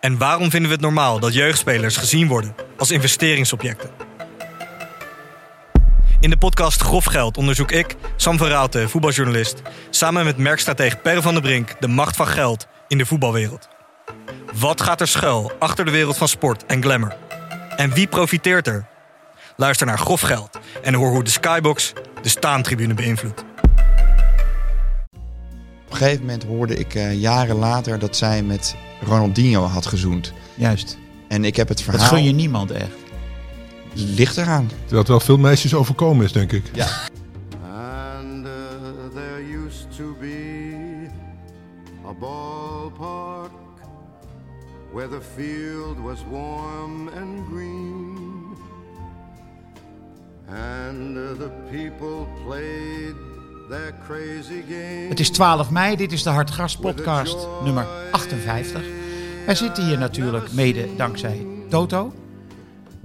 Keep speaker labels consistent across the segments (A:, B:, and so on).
A: En waarom vinden we het normaal dat jeugdspelers gezien worden als investeringsobjecten? In de podcast Grof Geld onderzoek ik, Sam van Raalte, voetbaljournalist, samen met merkstratege Per van der Brink de macht van geld in de voetbalwereld. Wat gaat er schuil achter de wereld van sport en glamour? En wie profiteert er? Luister naar Grof Geld en hoor hoe de Skybox de staantribune beïnvloedt.
B: Op een gegeven moment hoorde ik eh, jaren later dat zij met Ronaldinho had gezoend.
C: Juist.
B: En ik heb het
C: Dat
B: verhaal
C: gun je niemand echt.
B: licht eraan.
D: Dat wel veel meisjes overkomen is, denk ik.
E: And uh, there used to be a ballpark where the field was warm and green. And uh, the people played their crazy game.
C: Het is 12 mei, dit is de Hartgras podcast nummer 58. Wij zitten hier natuurlijk mede dankzij Toto.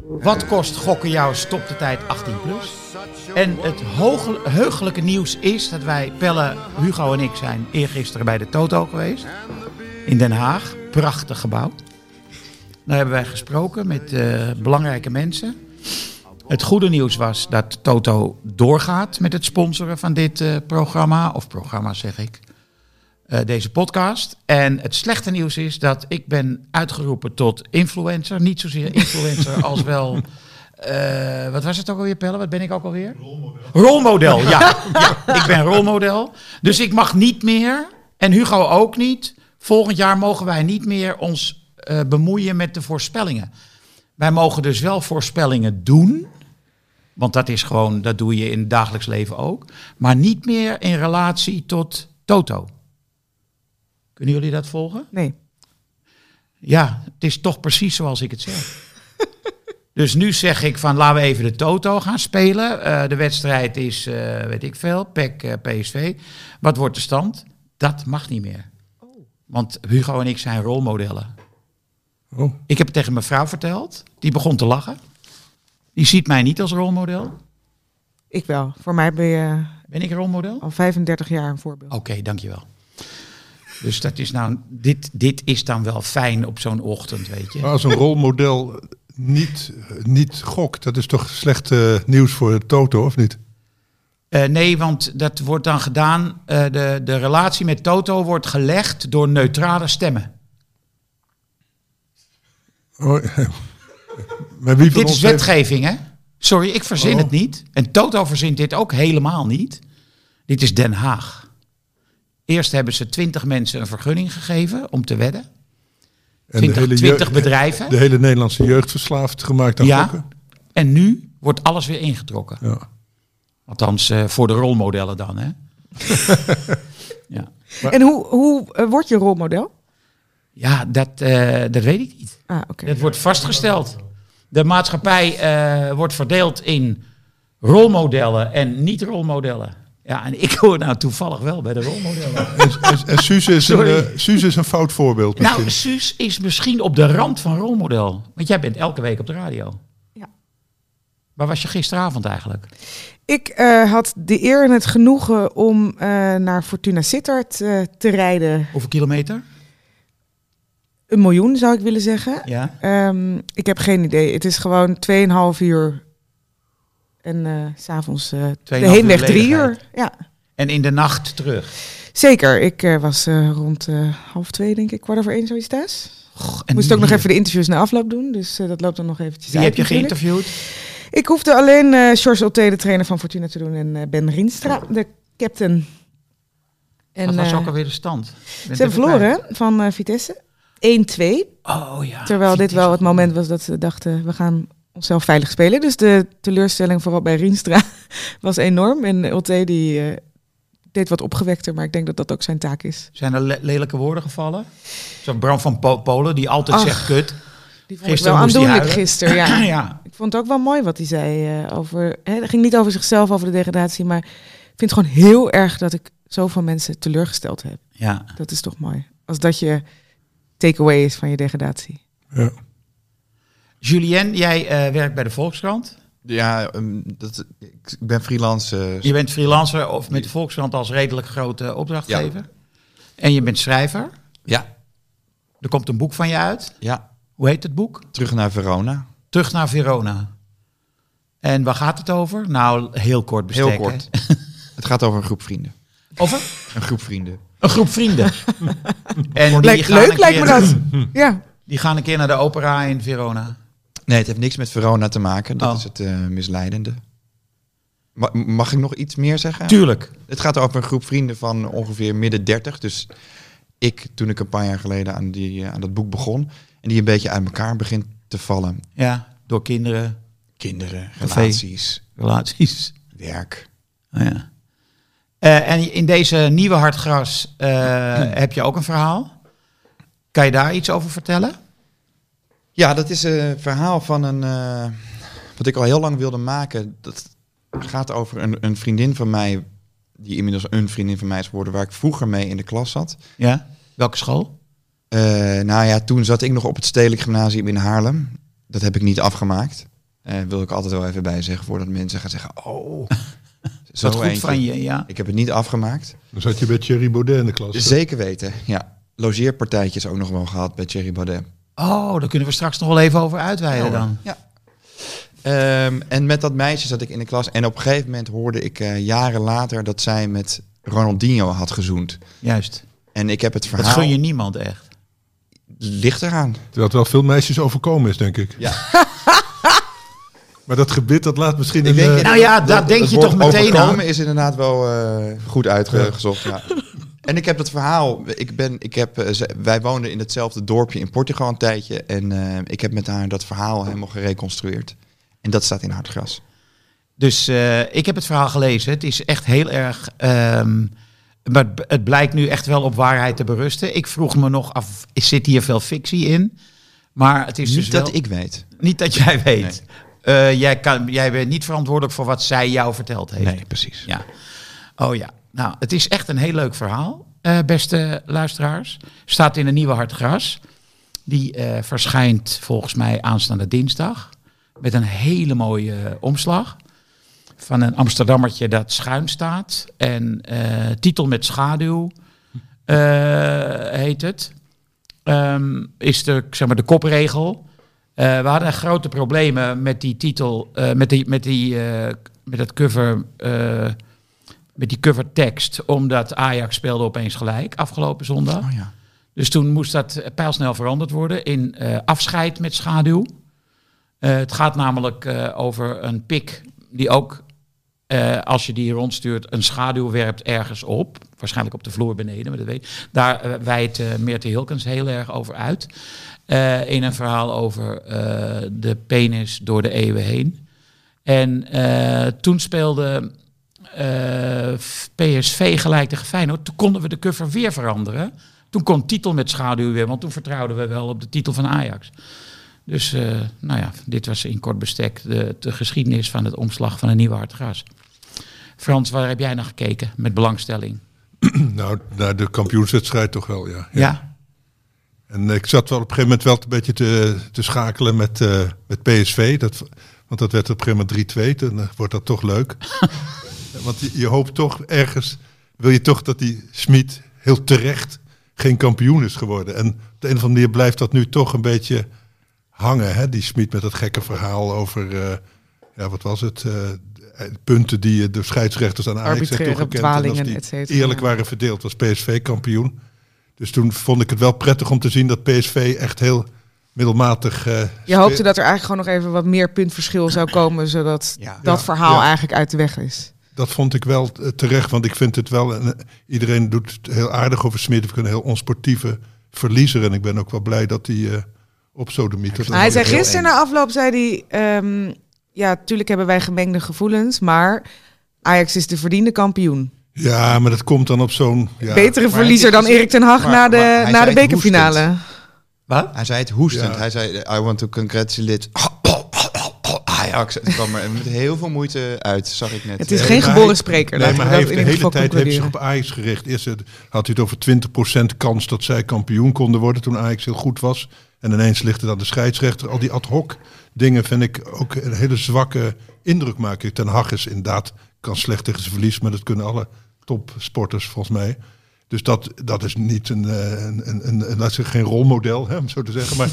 C: Wat kost gokken jou stop de tijd 18 plus? En het hoog, heugelijke nieuws is dat wij, Pelle, Hugo en ik zijn eergisteren bij de Toto geweest. In Den Haag, prachtig gebouw. Daar hebben wij gesproken met eh, belangrijke mensen. Het goede nieuws was dat Toto doorgaat met het sponsoren van dit eh, programma. Of programma zeg ik. Eh, deze podcast. En het slechte nieuws is dat ik ben uitgeroepen tot influencer. Niet zozeer influencer als wel... eh, wat was het ook alweer, Pelle? Wat ben ik ook alweer? Rolmodel. Rolmodel, ja. ja. Ik ben rolmodel. Dus ik mag niet meer, en Hugo ook niet... Volgend jaar mogen wij niet meer ons eh, bemoeien met de voorspellingen. Wij mogen dus wel voorspellingen doen. Want dat is gewoon, dat doe je in het dagelijks leven ook. Maar niet meer in relatie tot Toto. Kunnen jullie dat volgen?
F: Nee.
C: Ja, het is toch precies zoals ik het zeg. dus nu zeg ik van laten we even de Toto gaan spelen. Eh, de wedstrijd is, eh, weet ik veel, PEC, eh, PSV. Wat wordt de stand? Dat mag niet meer. Want Hugo en ik zijn rolmodellen.
D: Oh.
C: Ik heb het tegen mijn vrouw verteld. Die begon te lachen. Die ziet mij niet als rolmodel.
F: Ik wel. Voor mij ben je
C: Ben ik een rolmodel?
D: Oh.
F: al 35 jaar een voorbeeld.
C: Oké, dankjewel. Dus dat is nou, dit, dit is dan wel fijn op zo'n ochtend, weet je.
D: Maar als een rolmodel niet, niet gokt, dat is toch slecht eh, nieuws voor Toto, of niet?
C: Eh, nee, want dat wordt dan gedaan. eh, de, de relatie met Toto wordt gelegd door neutrale stemmen.
D: Oh, maar wie van
C: Dit
D: ons
C: is
D: heeft-
C: wetgeving, hè? Sorry, ik verzin
D: Oh.
C: het niet. En Toto verzint dit ook helemaal niet. Dit is Den Haag. Eerst hebben ze twintig mensen een vergunning gegeven om te wedden.
D: en
C: 20
D: jeugd-
C: 20 bedrijven.
D: De hele Nederlandse jeugd verslaafd gemaakt aan
C: ja.
D: gokken.
C: En nu wordt alles weer ingetrokken.
D: Ja.
C: Althans, eh, voor de rolmodellen dan, hè? ja.
F: En hoe, hoe eh, word je rolmodel?
C: ja, dat, eh, dat weet ik niet.
F: Ah, oké.
C: Dat wordt vastgesteld. De maatschappij eh, wordt verdeeld in rolmodellen en niet-rolmodellen. Ja, en ik hoor nou toevallig wel bij de rolmodellen.
D: En, en, en Suze, is een,
C: Sorry.
D: eh, Suze is een fout voorbeeld misschien.
C: nou, Suus is misschien op de rand van rolmodel. Want jij bent elke week op de radio.
F: Ja.
C: Waar was je gisteravond eigenlijk?
F: Ik eh, had de eer en het genoegen om eh, naar Fortuna Sittard eh, te rijden.
C: Hoeveel kilometer?
F: Een miljoen zou ik willen zeggen.
C: Ja.
F: Ehm, ik heb geen idee. Het is gewoon 2,5 uur. En eh, s s'avonds eh de
C: 2,5 uur
F: heenweg drie
C: ledigheid.
F: uur. Ja,
C: En in de nacht terug.
F: zeker. Ik eh, was eh, rond eh, half twee, denk ik, kwart over één, zoiets thuis.
C: Goh,
F: Moest
C: nu
F: ook nog
C: hier.
F: even de interviews na afloop doen, dus eh, dat loopt dan nog eventjes
C: Wie
F: uit
C: heb je
F: natuurlijk.
C: geïnterviewd?
F: Ik hoefde alleen eh George Otte, de trainer van Fortuna, te doen. En eh, Ben Rienstra, de captain. En,
C: dat was
F: eh,
C: ook alweer de stand. Ik ben
F: ze
C: het
F: hebben
C: even
F: verloren hè, van eh, Vitesse. 1-2.
C: kwijt. Oh ja.
F: Terwijl dit
C: Vitesse.
F: wel het moment was dat ze dachten, we gaan onszelf veilig spelen. Dus de teleurstelling vooral bij Rienstra was enorm. En Otte die eh, deed wat opgewekter, maar ik denk dat dat ook zijn taak is.
C: Zijn er le- lelijke woorden gevallen? Zo'n Bram van Po- Polen die altijd
F: Ach,
C: zegt kut.
F: Die vond
C: Gisteren
F: ik wel
C: moest hij
F: aandoenlijk
C: huilen.
F: gisteren, ja.
C: ja.
F: Ik vond het ook wel mooi wat hij zei eh, over. Hè, het ging niet over zichzelf, over de degradatie, maar ik vind het gewoon heel erg dat ik zoveel mensen teleurgesteld heb.
C: Ja.
F: Dat is toch mooi. Als dat je takeaway is van je degradatie.
D: Ja.
C: Julien, jij eh, werkt bij de Volkskrant.
B: Ja, ehm, dat, ik ben freelance. eh,
C: Je bent freelancer of met de Volkskrant als redelijk grote opdrachtgever. En je bent schrijver.
B: ja,
C: Er komt een boek van je uit.
B: ja,
C: Hoe heet het boek?
B: terug naar Verona.
C: Terug naar Verona. En waar gaat het over? Nou, heel kort bestek.
B: Heel kort.
C: hè?
B: Het gaat over een groep vrienden.
C: Over
B: Een groep vrienden.
C: een groep vrienden. en die
F: Lijkt-
C: gaan
F: leuk
C: een
F: lijkt me
C: keer-
F: dat. ja.
C: Die gaan een keer naar de opera in Verona.
B: Nee, het heeft niks met Verona te maken. Dat
C: Oh.
B: is het eh, misleidende. Ma- mag ik nog iets meer zeggen?
C: Tuurlijk.
B: Het gaat over een groep vrienden van ongeveer midden 30. Dus ik, toen ik een paar jaar geleden aan, die, eh, aan dat boek begon. En die een beetje uit elkaar begint te vallen.
C: Ja, door kinderen,
B: Kinderen,
C: Café.
B: relaties,
C: relaties.
B: werk.
C: Oh, ja. Eh, en in deze nieuwe hartgras eh, heb je ook een verhaal. Kan je daar iets over vertellen?
B: Ja, dat is een verhaal van een. eh, wat ik al heel lang wilde maken. Dat gaat over een, een vriendin van mij. Die inmiddels een vriendin van mij is geworden. Waar ik vroeger mee in de klas zat.
C: Ja. Welke school?
B: Eh, nou ja, toen zat ik nog op het Stedelijk Gymnasium in Haarlem. Dat heb ik niet afgemaakt. Eh wil ik altijd wel even bij zeggen voordat mensen gaan zeggen: Oh, zo
C: Wat goed
B: eentje.
C: van je, ja.
B: Ik heb het niet afgemaakt.
D: Dan zat je bij Thierry Baudet in de klas.
B: Zeker weten, ja. Logeerpartijtjes ook nog wel gehad bij Thierry Baudet.
C: Oh, daar kunnen we straks nog wel even over uitweiden dan.
B: Ja. Ehm, en met dat meisje zat ik in de klas. En op een gegeven moment hoorde ik eh, jaren later dat zij met Ronaldinho had gezoend.
C: Juist.
B: En ik heb het
C: Dat
B: verhaal.
C: gun je niemand echt.
B: Ligt eraan.
D: Dat wel veel meisjes overkomen is, denk ik.
B: Ja.
D: Maar dat gebit, dat laat misschien... een, eh,
C: Nou ja, daar denk
B: het
C: je
B: woord
C: toch meteen
B: overkomen
C: aan.
B: is inderdaad wel eh, goed uitgezocht. Ja. En ik heb dat verhaal. Ik ben, ik heb, eh, ze- wij woonden in hetzelfde dorpje in Portugal een tijdje. En eh, ik heb met haar dat verhaal helemaal gereconstrueerd. En dat staat in Hartgras.
C: Dus eh, ik heb het verhaal gelezen. Het is echt heel erg. ehm, maar het b- het blijkt nu echt wel op waarheid te berusten. Ik vroeg me nog af, zit hier veel fictie in? Maar het is
B: Niet
C: dus wel...
B: dat ik weet.
C: Niet dat jij weet. Eh, jij, kan, jij bent niet verantwoordelijk voor wat zij jou verteld heeft.
B: Nee, precies.
C: Ja. Oh ja. Nou, het is echt een heel leuk verhaal, eh, beste luisteraars. Staat in een nieuwe Hartgras. Die eh, verschijnt volgens mij aanstaande dinsdag. Met een hele mooie eh, omslag. Van een Amsterdammertje dat schuin staat. En eh, titel met schaduw eh, heet het. Ehm, is de, zeg maar, de kopregel. Eh, we hadden grote problemen met die titel, eh, met, die, met, die, eh, met dat cover, eh, met die covertekst, omdat Ajax speelde opeens gelijk afgelopen zondag.
B: Oh ja.
C: Dus toen moest dat eh, pijlsnel veranderd worden in eh, afscheid met schaduw. Eh, het gaat namelijk eh, over een pik die ook, eh, als je die rondstuurt, een schaduw werpt ergens op. Waarschijnlijk op de vloer beneden, maar dat weet Daar eh, wijdt eh Meerte Hilkens heel erg over uit. Eh, in een verhaal over eh, de penis door de eeuwen heen. En eh, toen speelde eh, PSV gelijk tegen Feyenoord. Toen konden we de cover weer veranderen. Toen kon titel met schaduw weer, want toen vertrouwden we wel op de titel van Ajax. Dus eh, nou ja, dit was in kort bestek de, de geschiedenis van het omslag van een nieuwe hartgras. Frans, waar heb jij naar gekeken met belangstelling?
D: Nou, naar de kampioenswedstrijd toch wel, ja.
C: Ja,
D: En ik zat wel op een gegeven moment wel een beetje te, te schakelen met, eh, met PSV. Dat, want dat werd op een gegeven moment 3-2. Dan eh, wordt dat toch leuk. want je, je hoopt toch ergens, wil je toch dat die Smit heel terecht geen kampioen is geworden. En op de een of andere manier blijft dat nu toch een beetje hangen. Hè? Die Smit met dat gekke verhaal over, eh, ja, wat was het? eh, de punten die je de scheidsrechters aan Ajax heeft
F: Arbitraire
D: toegekend.
F: dwalingen,
D: en
F: et
D: als die
F: cetera,
D: eerlijk
F: ja.
D: waren verdeeld, was PSV kampioen. Dus toen vond ik het wel prettig om te zien dat PSV echt heel middelmatig... eh,
F: Je hoopte dat er eigenlijk gewoon nog even wat meer puntverschil zou komen, zodat
B: Ja.
F: dat
D: Ja,
F: verhaal
D: ja.
F: eigenlijk uit de weg is.
D: Dat vond ik wel eh, terecht, want ik vind het wel. En, eh, iedereen doet het heel aardig over Smit. Ik vind een heel onsportieve verliezer. En ik ben ook wel blij dat hij eh op sodomiet.
B: Maar
F: Maar hij zei
B: heel
F: gisteren
B: eng.
F: na afloop, zei hij, ehm, ja, tuurlijk hebben wij gemengde gevoelens, maar Ajax is de verdiende kampioen.
D: Ja, maar dat komt dan op zo'n... Ja,
F: Betere
B: maar
F: verliezer
B: het is-
F: dan Erik ten Hag
B: maar-
F: na
B: maar
F: de,
B: hij
F: na
B: zei
F: de
B: het
F: bekerfinale.
C: Wat?
B: Hij zei het hoestend.
D: Ja.
B: Hij zei, I want to congratulate Ajax. Het kwam er met heel veel moeite uit, zag ik net.
F: Het is
B: Eh,
F: geen
D: maar
F: geboren
D: hij-
F: spreker.
D: Nee,
F: laten
D: maar
F: we
D: hij
F: dat
D: heeft de
F: in
D: hele
F: ieder geval
D: tijd heeft zich
F: concluderen.
D: op Ajax gericht. Eerst eh, had hij het over 20% kans dat zij kampioen konden worden toen Ajax heel goed was. En ineens ligt het aan de scheidsrechter. Al die ad hoc dingen vind ik ook een hele zwakke indruk maken. Ten Hag is inderdaad, kan slecht tegen zijn verlies, maar dat kunnen alle topsporters volgens mij. Dus dat, dat is niet een, eh, een, een, een, een- laat ik zeggen, geen rolmodel, hè, om zo te zeggen. Maar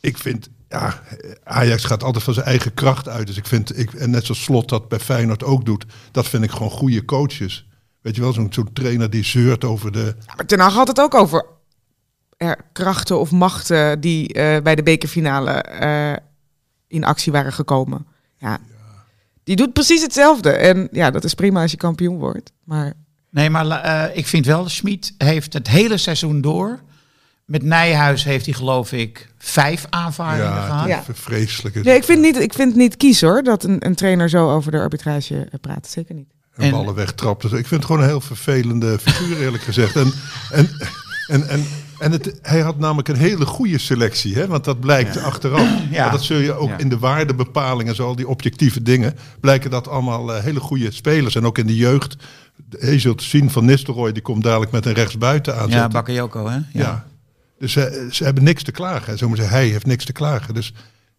D: ik vind, ja, Ajax gaat altijd van zijn eigen kracht uit. Dus ik vind, ik, en net zoals Slot dat bij Feyenoord ook doet, dat vind ik gewoon goede coaches. Weet je wel, zo'n zo'n trainer die zeurt over de...
F: Maar Ten Hag had het ook over er krachten of machten die eh, bij de bekerfinale eh, in actie waren gekomen. Ja. Die doet precies hetzelfde. En ja, dat is prima als je kampioen wordt. Maar
C: Nee, maar eh, ik vind wel, Schmid heeft het hele seizoen door. Met Nijhuis heeft hij geloof ik vijf aanvaringen
D: Ja,
C: gehad.
F: Ja.
D: vreselijke...
F: nee, ik vind, niet, ik vind het niet kies hoor, dat een, een trainer zo over de arbitrage eh, praat. Zeker niet.
D: En ballen wegtrapt. Dus ik vind het gewoon een heel vervelende figuur, eerlijk gezegd. En, en, en, en, en het, hij had namelijk een hele goede selectie, hè? want dat blijkt achteraf.
C: Ja.
D: Maar dat zul je ook
C: Ja.
D: in de waardebepalingen, en zo, al die objectieve dingen, blijken dat allemaal eh, hele goede spelers. En ook in de jeugd. Je zult zien van Nistelrooy, die komt dadelijk met een rechtsbuiten aan.
C: Ja, Bakayoko, hè? Ja.
D: Ja. Dus ze, ze hebben niks te klagen. Hè. Zo moet je zeggen, hij heeft niks te klagen. Dus,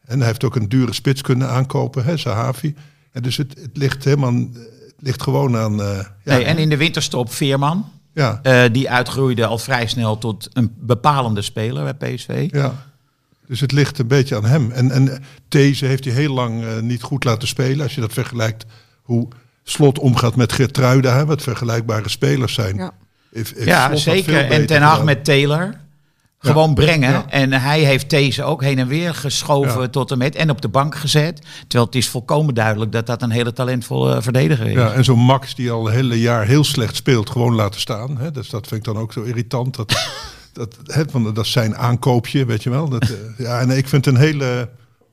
D: en hij heeft ook een dure spits kunnen aankopen, hè, Sahavi. En dus het, het ligt helemaal... Het ligt gewoon aan... eh, ja,
C: Nee, en in de winterstop Veerman.
D: ja,
C: eh, die uitgroeide al vrij snel tot een bepalende speler bij PSV.
D: ja. Dus het ligt een beetje aan hem. En, en These heeft hij heel lang eh, niet goed laten spelen. Als je dat vergelijkt hoe Slot omgaat met Gertruida, hè, wat vergelijkbare spelers zijn.
F: Ja.
D: If- if Slot
C: Ja,
D: had veel
C: zeker. En
D: beter
C: Ten Hag
D: gedaan.
C: met Taylor. Gewoon brengen.
D: Ja.
C: En hij heeft deze ook heen en weer geschoven
D: Ja.
C: tot en met. En op de bank gezet. Terwijl het is volkomen duidelijk dat dat een hele talentvolle eh, verdediger is.
D: Ja, en zo'n Max die al het hele jaar heel slecht speelt, gewoon laten staan. Hè? Dus dat vind ik dan ook zo irritant. Dat, dat, hè, want dat is zijn aankoopje, weet je wel. Dat, eh, ja, en ik vind een hele...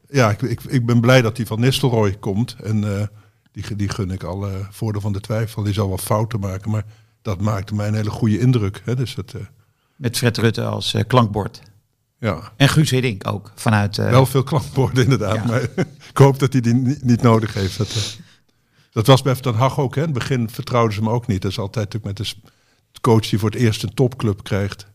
D: Ja, ik, ik, ik ben blij dat die van Nistelrooy komt. En eh, die, ge- die gun ik alle voordeel van de twijfel. Die zal wel fouten maken, maar dat maakte mij een hele goede indruk. Hè? Dus dat, eh,
C: Met Fred Rutte als eh, klankbord.
D: ja,
C: En Guus Hiddink ook. Vanuit, eh,
D: wel veel klankborden inderdaad.
C: Ja.
D: Maar ik hoop dat hij die niet, niet nodig heeft. Dat, eh, dat was bij Ten Hag ook. Hè. In het begin vertrouwden ze hem ook niet. Dat is altijd natuurlijk met de s- coach die voor het eerst een topclub krijgt.
C: wat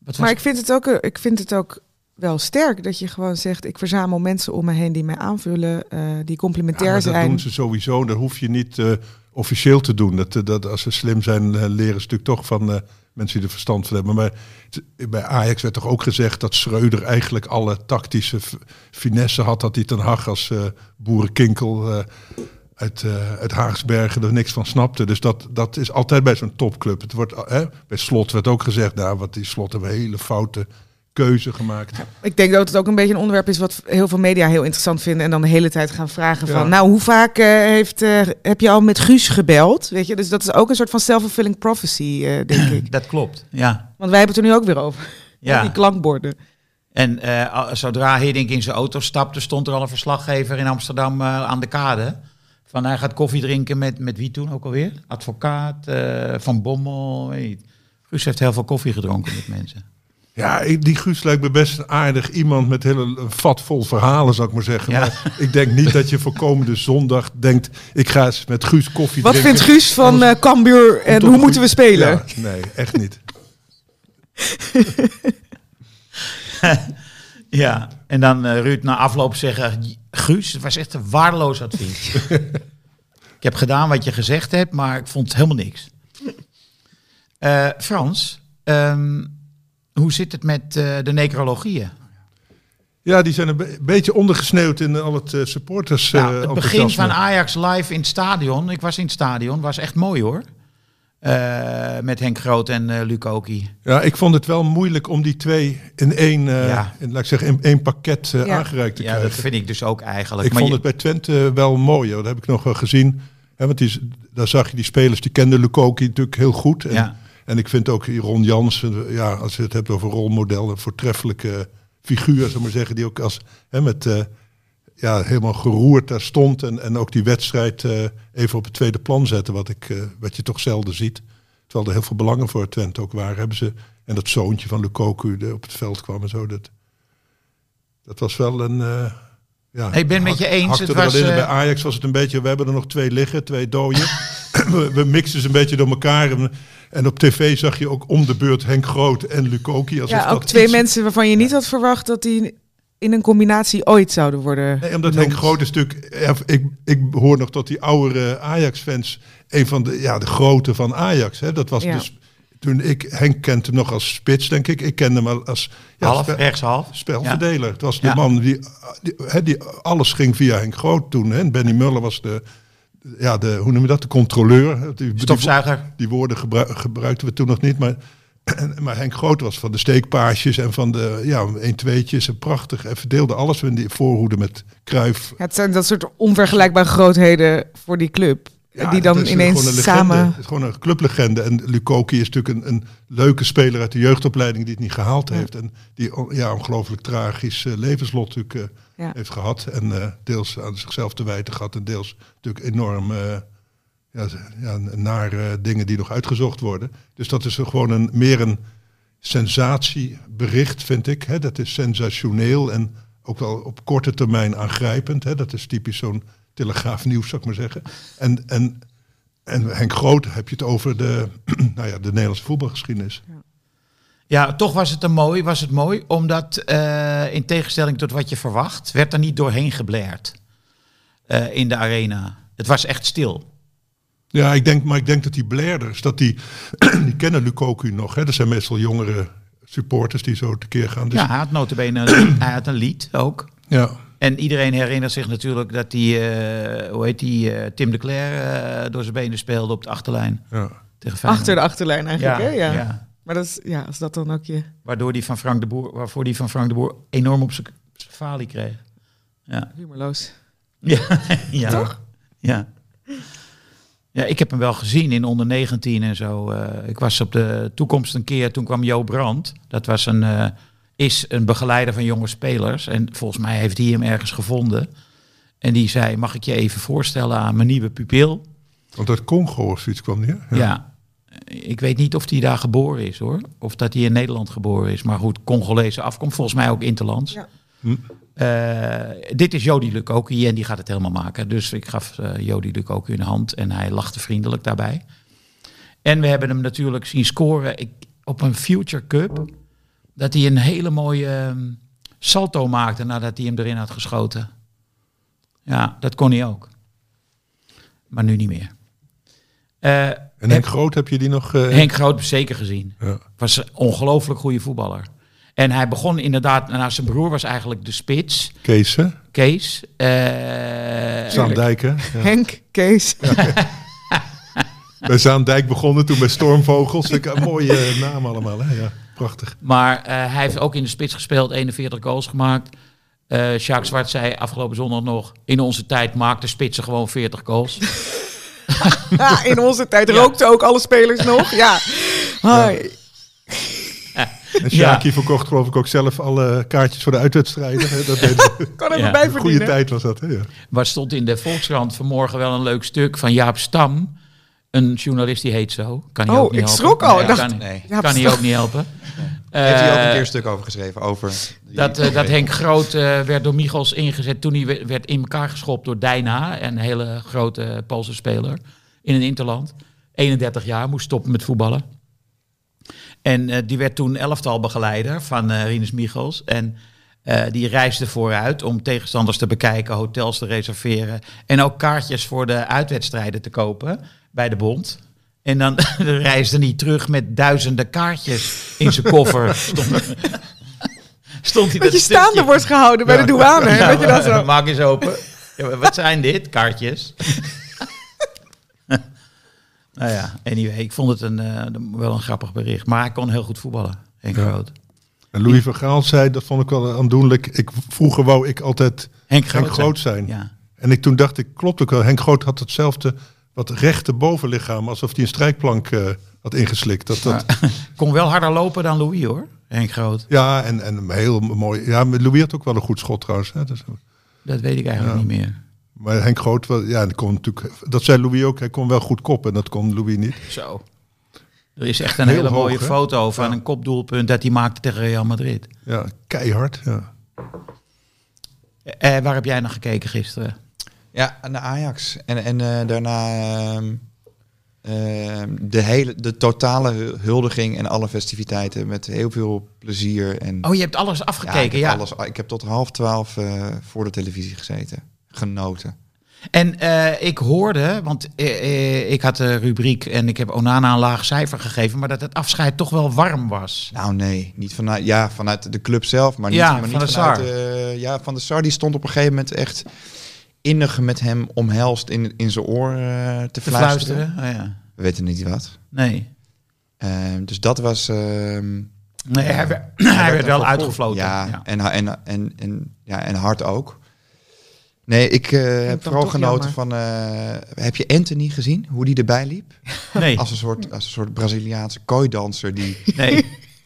C: was
F: Maar
C: het?
F: ik vind, het ook, eh, ik vind het ook wel sterk dat je gewoon zegt: ik verzamel mensen om me heen die mij aanvullen, eh, die
D: Ja,
F: complementair
D: maar dat
F: zijn.
D: doen ze sowieso. Dat hoef je niet eh, officieel te doen. Dat, eh, dat, als ze slim zijn, eh, leren ze natuurlijk toch van eh, mensen die er verstand van hebben. Maar het- bij Ajax werd toch ook gezegd dat Schreuder eigenlijk alle tactische f- finesse had. Dat hij ten Hag als eh, boerenkinkel eh, uit, eh uit Haagsbergen er niks van snapte. Dus dat, dat is altijd bij zo'n topclub. Het wordt, eh, bij Slot werd ook gezegd, nou, wat die Slot hebben hele foute keuze gemaakt.
F: Ik denk dat het ook een beetje een onderwerp is wat heel veel media heel interessant vinden. En dan de hele tijd gaan vragen
D: Ja.
F: van, nou, hoe vaak eh, heeft, eh, heb je al met Guus gebeld? Weet je, dus dat is ook een soort van self-fulfilling prophecy, eh, denk ik.
C: Dat klopt, ja.
F: Want wij hebben het er nu ook weer over.
C: Ja.
F: Die klankborden.
C: En eh, al- zodra Hiddink in zijn auto stapte, stond er al een verslaggever in Amsterdam eh, aan de kade. Van hij gaat koffie drinken met, met wie toen ook alweer? Advocaat, eh, Van Bommel, weet niet. Guus heeft heel veel koffie gedronken met mensen.
D: Ja, ik- die Guus lijkt me best een aardig iemand met hele een vat vol verhalen, zou ik maar zeggen.
C: Ja.
D: Maar ik denk niet dat je voor komende zondag denkt, ik ga eens met Guus koffie
F: Wat
D: drinken.
F: vindt Guus van eh Cambuur en
D: Om tot
F: hoe
D: een
F: moeten
D: goede-
F: we spelen?
D: Ja, nee, echt niet.
C: Ja, en dan eh, Ruud na afloop zeggen, Guus, het was echt een waardeloos advies. ik heb gedaan wat je gezegd hebt, maar ik vond helemaal niks. Eh, Frans, ehm, hoe zit het met eh, de necrologieën?
D: Ja, die zijn een be- beetje ondergesneeuwd in al het eh, supporters eh
C: Ja, Nou, het begin
D: enthousiasme.
C: van Ajax live in het stadion. Ik was in het stadion, was echt mooi hoor. Eh, met Henk Groot en eh Luc Oki.
D: Ja, ik vond het wel moeilijk om die twee in één, eh,
C: Ja.
D: in, laat ik zeggen, in één pakket eh,
F: Ja.
D: aangereikt te
C: Ja,
D: krijgen.
C: dat vind ik dus ook eigenlijk.
D: Ik
C: Maar
D: vond
C: je-
D: het bij Twente wel mooi. hoor. Dat heb ik nog wel gezien. Hè, want die, is- daar zag je die spelers, die kenden Lukoki natuurlijk heel goed. En,
C: Ja.
D: en ik vind ook Ron Jansen, eh, ja, als je het hebt over rolmodel, een voortreffelijke figuur, zou ik maar zeggen. Die ook als, hè, met eh, ja, helemaal geroerd daar stond. En, en ook die wedstrijd eh, even op het tweede plan zetten, wat, ik, eh, wat je toch zelden ziet. Terwijl er heel veel belangen voor Twente ook waren. Hebben ze, en dat zoontje van Lukoku die op het veld kwam en zo. Dat, dat was wel een... eh, ja,
C: Nee, ik ben het met
D: hak-
C: je eens.
D: hakte
C: Het
D: er wel
C: was,
D: in.
C: eh,
D: Bij Ajax was het een beetje... We hebben er nog twee liggen, twee dooien. we, we mixen ze een beetje door elkaar. En, en op tv zag je ook om de beurt Henk Groot en Lukoki. alsof
F: Ja,
D: dat
F: ook twee
D: iets-
F: mensen waarvan je niet had verwacht dat die in een combinatie ooit zouden worden.
D: Nee, omdat
F: genoemd.
D: Henk Groot is natuurlijk... ja, Ik, ik hoor nog tot die oudere Ajax-fans... een van de, ja, de grote van Ajax. Hè. Dat was
F: Ja.
D: dus... Toen ik, Henk kent hem nog als spits, denk ik. Ik ken hem al als ja,
C: half,
D: spe-
C: rechtshalf.
D: spelverdeler. Het was de
C: Ja.
D: man die, die, hè, die... Alles ging via Henk Groot toen. Hè. En Benny Muller was de... Ja, de, hoe noem je dat? De controleur. hè. Die- die-
C: Stofzuiger.
D: die woorden gebru- gebruikten we toen nog niet, maar, maar Henk Groot was van de steekpaasjes en van de ja, 1-2'tjes en prachtig. En verdeelde alles in die voorhoede met Kruif.
F: Ja, het zijn dat soort onvergelijkbare grootheden voor die club. die dan ineens samen...
D: Het is gewoon een clublegende. En Lukoki is natuurlijk een, een leuke speler uit de jeugdopleiding die het niet gehaald heeft. En die on- ja, ongelooflijk tragisch eh, levenslot natuurlijk eh,
F: Ja.
D: heeft gehad. En eh, deels aan zichzelf te wijten gehad en deels natuurlijk enorm... eh, ja, z- ja, naar eh, dingen die nog uitgezocht worden. Dus dat is gewoon een, meer een sensatiebericht, vind ik. Hè? Dat is sensationeel en ook wel op korte termijn aangrijpend. Hè? Dat is typisch zo'n telegraafnieuws, zou ik maar zeggen. En, en, en Henk Groot heb je het over de, nou ja, de Nederlandse voetbalgeschiedenis.
C: Ja, toch was het, een mooi, was het mooi, omdat eh, in tegenstelling tot wat je verwacht, werd er niet doorheen geblerd eh, in de arena. Het was echt stil.
D: Ja, ik denk, maar ik denk dat die blerders, dat die, die kennen Lukoku nog. Hè? Dat zijn meestal jongere supporters die zo tekeer gaan. Dus,
C: ja, hij had notabene een, hij had een lied ook.
D: ja.
C: En iedereen herinnert zich natuurlijk dat die, eh, hoe heet die, eh, Tim de Cler eh, door zijn benen speelde op de achterlijn
D: ja.
C: tegen Feyenoord.
F: Achter de achterlijn eigenlijk, hè? Ja.
C: ja.
F: Maar dat is, ja, als dat dan ook je...
C: Waardoor die van Frank de Boer, waarvoor die van Frank de Boer enorm op zijn zijn falie kreeg. Ja.
F: Humorloos.
C: Ja. ja. Toch? Ja. Ja, ik heb hem wel gezien in onder 19 en zo. Eh, ik was op de toekomst een keer, toen kwam Jo Brand. Dat was een, eh, is een begeleider van jonge spelers. En volgens mij heeft hij hem ergens gevonden. En die zei, mag ik je even voorstellen aan mijn nieuwe pupil?
D: Want uit Congo of zoiets kwam die, hè?
C: Ja. Ik weet niet of hij daar geboren is hoor. Of dat hij in Nederland geboren is. Maar goed, Congolese afkomst. Volgens mij ook Interlands.
F: Ja.
D: Hm.
C: Eh, dit is Jody Lukoki en die gaat het helemaal maken. Dus ik gaf eh, Jody Lukoki een hand en hij lachte vriendelijk daarbij. En we hebben hem natuurlijk zien scoren ik, op een Future Cup. Dat hij een hele mooie ehm, salto maakte nadat hij hem erin had geschoten. Ja, dat kon hij ook. Maar nu niet meer. Eh,
D: En Henk Groot heb je die nog? eh,
C: Henk Groot zeker gezien.
D: Ja.
C: Was een ongelooflijk goede voetballer. En hij begon inderdaad, nou zijn broer was eigenlijk de spits,
D: Kees, hè?
C: Kees. Eh,
D: Zaandijk, hè? Ja.
F: Henk, Kees.
D: Bij Zaandijk begonnen, toen bij Stormvogels. Ik, een mooie eh, naam allemaal, hè? Ja, prachtig.
C: maar eh, hij heeft ook in de spits gespeeld, 41 goals gemaakt. Eh Jacques Zwart zei afgelopen zondag nog, in onze tijd maakten spitsen gewoon 40 goals.
F: Ja, in onze tijd rookten ook alle spelers nog. Ja. Hoi.
D: En Sjaki verkocht geloof ik ook zelf alle kaartjes voor de uitwedstrijden. hè. Dat deed
F: Kan er
C: Ja,
F: ja,
C: een
F: bij
D: een goede
F: verdienen.
D: tijd was dat, hè? Ja.
C: Waar stond in de Volkskrant vanmorgen wel een leuk stuk van Jaap Stam. Een journalist die heet zo. Kan hij
F: Oh,
C: ook niet
F: ik
C: helpen.
F: schrok al.
C: Nee,
F: Ik dacht,
C: kan,
B: nee.
F: Jaap
C: kan hij
F: Stam.
C: ook niet helpen.
B: Heeft hij ook
C: Eh,
B: een keer een stuk over geschreven? Over die-
C: Dat, eh, dat Henk Groot eh, werd door Michels ingezet toen hij we- werd in elkaar geschopt door Dijna, een hele grote eh, Poolse speler in een interland. 31 jaar, moest stoppen met voetballen. En eh, die werd toen elftal begeleider van eh Rinus Michels. En eh, die reisde vooruit om tegenstanders te bekijken, hotels te reserveren. En ook kaartjes voor de uitwedstrijden te kopen bij de bond. En dan reisde hij terug met duizenden kaartjes in zijn koffer. Stond, stond hij
F: Dat
C: stukje-
F: je staande wordt gehouden bij de douane. hè? Weet je dat zo?
C: Maak eens open. Ja, maar wat zijn dit? Kaartjes. nou ja, anyway, ik vond het een, eh, wel een grappig bericht. Maar hij kon heel goed voetballen, Henk
D: Ja.
C: Groot.
D: En Louis van Gaal zei, dat vond ik wel aandoenlijk. Ik, vroeger wou ik altijd
C: Henk
D: Henk Groot zijn.
C: Ja.
D: En ik, toen dacht ik, klopt ook wel. Henk Groot had hetzelfde, wat rechte bovenlichaam. Alsof hij een strijkplank eh, had ingeslikt. Dat, dat,
C: Kon wel harder lopen dan Louis hoor, Henk Groot.
D: Ja, en, en heel mooi. Ja, maar Louis had ook wel een goed schot trouwens. Hè? Dus,
C: Dat weet ik eigenlijk
D: Ja.
C: niet meer.
D: Maar Henk Groot, wel- ja, die kon natuurlijk, dat zei Louis ook, hij kon wel goedkoop en dat kon Louis niet.
C: Zo. Er is echt een
D: Heel
C: hele
D: hoog,
C: mooie
D: hè?
C: foto van een kopdoelpunt dat hij maakte tegen Real Madrid.
D: Ja, keihard. Ja.
C: Eh, waar heb jij naar gekeken gisteren?
B: Ja, naar Ajax. En, en eh, daarna ehm, ehm, de, hele, de totale hu- huldiging en alle festiviteiten met heel veel plezier. En,
C: Oh, je hebt alles
B: ja,
C: afgekeken,
B: ik,
C: ja.
B: heb Alles, ik heb tot half twaalf eh, voor de televisie gezeten. Genoten.
C: En eh, ik hoorde, want eh, eh, ik had de rubriek en ik heb Onana een laag cijfer gegeven, maar dat het afscheid toch wel warm was.
B: Nou nee, niet vanuit, ja, vanuit de club zelf, maar niet,
C: Ja,
B: maar
C: Van
B: niet
C: der
B: vanuit...
C: Sar.
B: eh, ja, Van der Sar die stond op een gegeven moment echt innig met hem omhelst in, in zijn oor eh, te,
C: Te
B: fluisteren.
C: fluisteren? Oh, ja.
B: We weten niet wat.
C: Nee.
B: Ehm, dus dat was... ehm,
C: nee hij, werd, hij werd wel uitgefloten.
B: Ja,
C: Ja.
B: En, ha- en, en, en, ja, en hard ook. Nee, ik eh, heb
F: dan
B: vooral
F: toch
B: genoten van... eh, heb je Anthony gezien? Hoe die erbij liep?
C: Nee,
B: Als een soort, als een soort Braziliaanse kooidanser die
C: nee.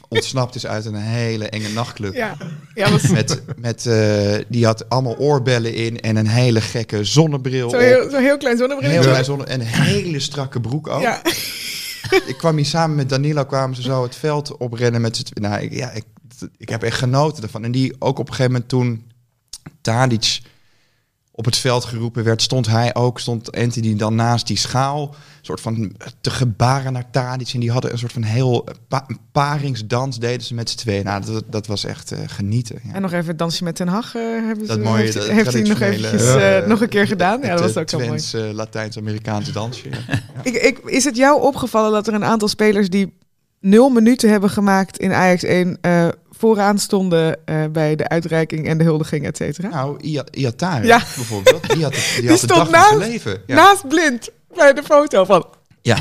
B: ontsnapt is uit een hele enge nachtclub.
F: Ja, ja was
B: Met, met, eh, die had allemaal oorbellen in en een hele gekke zonnebril
F: zo'n
B: op.
F: heel, zo'n heel klein
B: Heel
F: zonnebrilletje.
B: klein zonne en een hele strakke broek ook.
F: Ja.
B: Ik kwam hier samen met Danilo, kwamen ze zo het veld oprennen met z'n tw- Nou, ik, ja, ik, ik heb echt genoten ervan. En die ook op een gegeven moment toen Tadic op het veld geroepen werd, stond hij ook, stond Anthony dan naast die schaal. Een soort van te gebaren naar Tadic. En die hadden een soort van heel eh, pa- een paringsdans deden ze met z'n tweeën. Nou, dat, dat was echt eh, genieten. Ja.
F: En nog even het dansje met Ten Hag eh, hebben ze,
B: Dat mooie,
F: heeft,
B: dat
F: heeft hij nog
B: traditionele,
F: eventjes eh,
B: eh,
F: nog een keer gedaan. Ja,
B: Het,
F: dat was
B: eh,
F: ook heel mooi.
B: Twents, eh, Latijns-Amerikaanse dansje. ja.
F: Ik, ik, is het jou opgevallen dat er een aantal spelers die nul minuten hebben gemaakt in Ajax 1 eh, vooraan stonden eh, bij de uitreiking en de huldiging, et cetera?
B: Nou, Ia- Iatare
F: Ja.
B: bijvoorbeeld, die had, het- die had de dag
F: stond
B: van zijn
F: naast-
B: leven. Ja.
F: Naast blind bij de foto van.
D: Ja.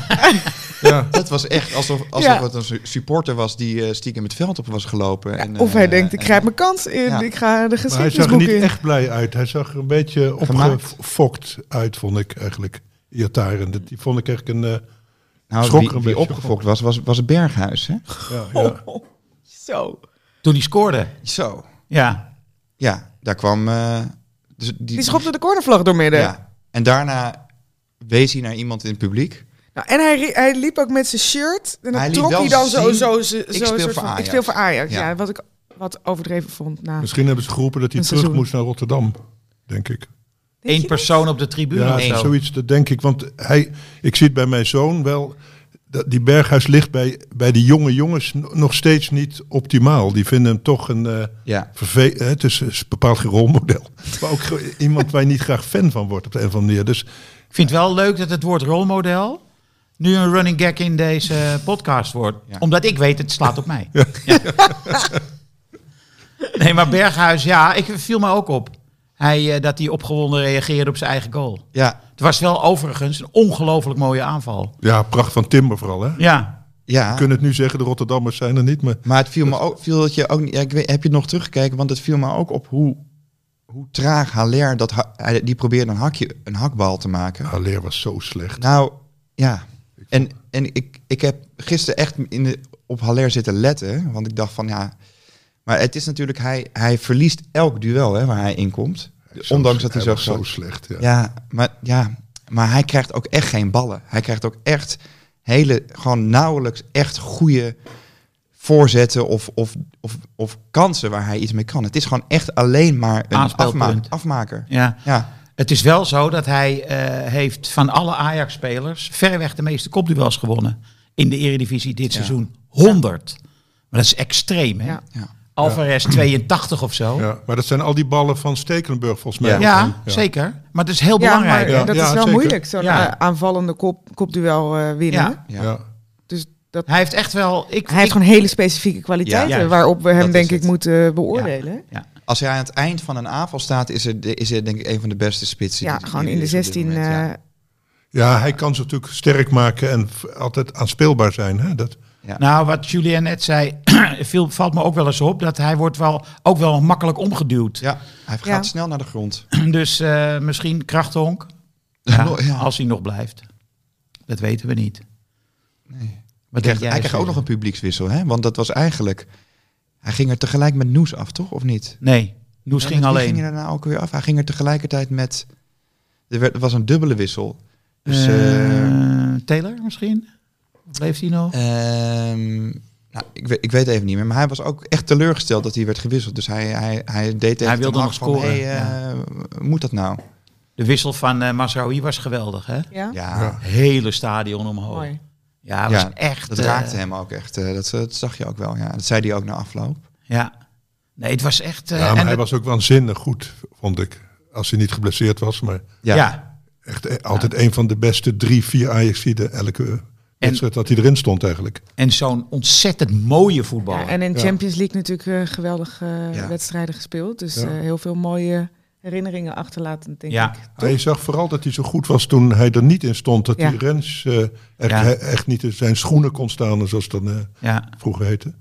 B: Dat was echt alsof, alsof
F: Ja.
B: het een su- supporter was die eh, stiekem het veld op was gelopen. en,
F: of hij
B: eh,
F: denkt, ik
B: en-
F: grijp mijn kans in,
B: Ja.
F: ik ga de
D: Maar hij zag er
F: geschiedenisboek
D: niet
F: in.
D: echt blij uit. Hij zag er een beetje
B: Gemaakt.
D: opgefokt uit, vond ik eigenlijk. Iataren. Dat- Die vond ik eigenlijk een... eh,
B: nou,
D: schrok
B: wie,
D: er een
B: wie
D: beetje
B: opgefokt was, was, was Berghuis, hè?
D: eh, ja, ja.
F: Zo.
C: toen hij scoorde.
B: Zo.
C: Ja.
B: Ja, daar kwam... eh, dus die,
F: Die schopte de cornervlag door midden.
B: Ja. En daarna wees hij naar iemand in het publiek.
F: Nou, en hij, ri- hij liep ook met zijn shirt. En dan
B: Hij liet
F: trok
B: wel
F: hij dan zo,
B: zien,
F: zo, zo,
B: ik
F: zo
B: speel
F: een soort
B: voor
F: van, ik
B: Ajax.
F: speel voor Ajax. Ja.
B: Ja.
F: wat ik wat overdreven vond. Nou,
D: Misschien hebben ze geroepen dat hij
F: Een
D: terug
F: seizoen.
D: moest naar Rotterdam, denk ik.
F: denk
C: Eén
F: je dat?
C: persoon op de tribune
D: Ja,
C: of zo.
D: zoiets, dat denk ik. Want hij, ik zie het bij mijn zoon wel. Dat die Berghuis ligt bij, bij die jonge jongens n- nog steeds niet optimaal. Die vinden hem toch een. eh
B: Ja.
D: verve- hè, het is, is bepaald geen rolmodel. Maar ook ge- iemand waar je niet graag fan van wordt op de een of andere manier. Dus
C: Ik vind het wel leuk dat het woord rolmodel nu een running gag in deze podcast wordt.
B: Ja.
C: Omdat ik weet, het slaat op mij. Ja. nee, maar Berghuis, ja, ik viel me ook op. Hij, eh, dat hij opgewonden reageerde op zijn eigen goal.
B: Ja,
C: Het was wel overigens een ongelooflijk mooie aanval.
D: ja, pracht van Timber vooral. Hè?
C: Ja,
B: ja.
D: We kunnen het nu zeggen, de Rotterdammers zijn er niet. Maar
B: Maar het viel me ook, viel het je ook niet, ja, ik weet, heb je het nog teruggekeken? Want het viel me ook op hoe, hoe traag Haller, dat, ha- hij- die probeerde een, hakje, een hakbal te maken.
D: ja, Leer was zo slecht.
B: Nou, ja. En, en ik, ik heb gisteren echt in de, op Haller zitten letten. Want ik dacht van ja. Maar het is natuurlijk, hij, hij verliest elk duel hè, waar hij in komt.
D: Zo-
B: Ondanks dat hij zo
D: was zo
B: groot-
D: slecht. Ja.
B: Ja, maar, ja, maar hij krijgt ook echt geen ballen. Hij krijgt ook echt hele, gewoon nauwelijks echt goede voorzetten of, of, of, of kansen waar hij iets mee kan. Het is gewoon echt alleen maar een
C: Aanspeelpunt.
B: afma- afmaker.
C: ja.
B: Ja,
C: Het is wel zo dat hij eh, heeft van alle Ajax-spelers verreweg de meeste kopduels gewonnen. In de Eredivisie dit
B: Ja.
C: seizoen. 100. Maar dat is extreem, hè?
F: Ja.
B: ja.
C: Alvarez 82 of zo.
D: Ja, maar dat zijn al die ballen van Stekelenburg volgens mij.
B: Ja.
D: ook, hè?
C: Ja, zeker. Maar het is heel
F: Ja,
C: belangrijk.
F: maar
D: Ja.
F: dat
D: Ja,
F: is wel
D: zeker.
F: moeilijk, zo'n
C: Ja.
F: eh, aanvallende kop, kopduel eh, winnen.
C: Ja.
B: ja.
D: Ja.
F: Dus dat,
C: Hij heeft echt wel. Ik,
F: hij heeft
C: ik-
F: gewoon hele specifieke kwaliteiten
C: Ja, juist.
F: waarop we hem
B: is
F: denk ik
B: het.
F: moeten beoordelen. Ja,
C: Ja.
B: Als hij aan het eind van een aanval staat, is hij is er denk ik een van de beste spitsen. die-
F: gewoon
B: die
F: in de
B: er is op dit
F: 16.
B: moment, ja.
F: eh,
D: Ja, hij kan ze natuurlijk sterk maken en v- altijd aanspeelbaar zijn. Hè? Dat,
C: Nou, wat Julien net zei, viel, valt me ook wel eens op dat hij wordt wel, ook wel makkelijk omgeduwd.
B: Ja, hij gaat
F: Ja.
B: snel naar de grond.
C: Dus eh, misschien krachthonk. Ja,
B: Ja.
C: Als hij nog blijft. Dat weten we niet.
B: Nee. Hij
C: Wat denk
B: krijgt,
C: jij,
B: hij krijgt ook nog
C: Steven?
B: een publiekswissel, hè? Want dat was eigenlijk... Hij ging er tegelijk met Noes af, toch? Of niet?
C: Nee. Noes
B: Ja,
C: ging
B: met wie
C: alleen.
B: ging er daarna ook weer af? Hij ging er tegelijkertijd met... Er, werd, er was een dubbele wissel. Dus... eh,
C: Eh, Taylor misschien? Leeft hij nog?
B: Ehm, nou, ik, weet, ik weet even niet meer. Maar hij was ook echt teleurgesteld dat hij werd gewisseld. Dus hij, hij, hij deed tegen
C: Hij wilde
B: Ten Hag
C: nog
B: van,
C: scoren,
B: Hey, eh, Moet dat nou?
C: De wissel van eh Mazraoui was geweldig, hè?
F: Ja?
B: Ja,
D: Ja.
C: Hele stadion omhoog.
F: Mooi.
C: Ja, het was
B: Ja,
C: echt...
B: dat
C: eh,
B: raakte hem ook echt. eh, dat, dat zag je ook wel. Ja. Dat zei hij ook na afloop.
C: Ja. Nee, het was echt... eh,
D: Ja,
C: en
D: maar hij
C: dat-
D: was ook waanzinnig goed, vond ik. Als hij niet geblesseerd was, maar
C: ja.
D: echt eh, altijd een van de beste drie, vier Ajaxiden elke eh, wedstrijd dat hij erin stond eigenlijk.
C: en zo'n ontzettend mooie voetbal.
F: Ja, en in
D: Ja.
F: Champions League natuurlijk eh, geweldige eh,
B: Ja.
F: wedstrijden gespeeld. Dus
D: Ja.
F: eh, heel veel mooie herinneringen achterlaten, denk
C: Ja.
F: ik.
D: Hij je zag vooral dat hij zo goed was toen hij er niet in stond. Dat
F: Ja.
D: die Rens eh, echt,
C: Ja.
D: he- echt niet in zijn schoenen kon staan, zoals het dan eh,
C: ja.
D: vroeger heette.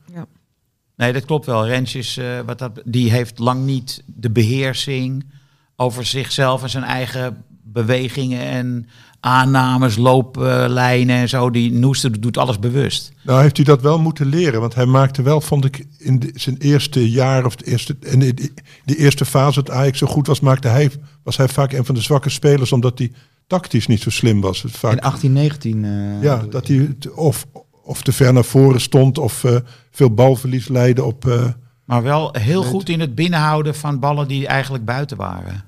C: Nee, dat klopt wel. Rens is, eh, wat dat, die heeft lang niet de beheersing over zichzelf en zijn eigen bewegingen en aannames, looplijnen en zo. Die Noester doet alles bewust.
D: Nou heeft hij dat wel moeten leren, want hij maakte wel, vond ik, in de- zijn eerste jaar of de eerste, in de, de eerste fase dat Ajax zo goed was, maakte hij, was hij vaak een van de zwakke spelers, omdat hij tactisch niet zo slim was. Het Vaak,
B: In 1819. eh
D: ja, dat hij te- of, of te ver naar voren stond of eh, veel balverlies leidde op... eh,
C: Maar wel heel goed in het binnenhouden van ballen die eigenlijk buiten waren.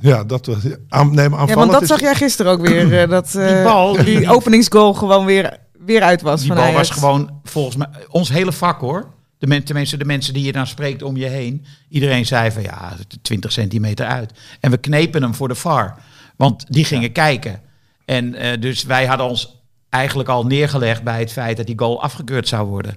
D: ja, dat was... Aan, nee, maar
F: Ja,
D: aanvallend
F: want dat
D: is-
F: zag jij gisteren ook weer. eh, dat eh,
C: Die bal,
F: die,
C: die-
F: openingsgoal gewoon weer, weer uit was.
C: Die
F: van
C: bal
F: Ajax.
C: was gewoon volgens mij ons hele vak hoor. De men, tenminste, de mensen die je dan spreekt om je heen. Iedereen zei van ja, 20 centimeter uit. En we knepen hem voor de VAR. Want die gingen kijken. En eh, dus wij hadden ons eigenlijk al neergelegd bij het feit dat die goal afgekeurd zou worden.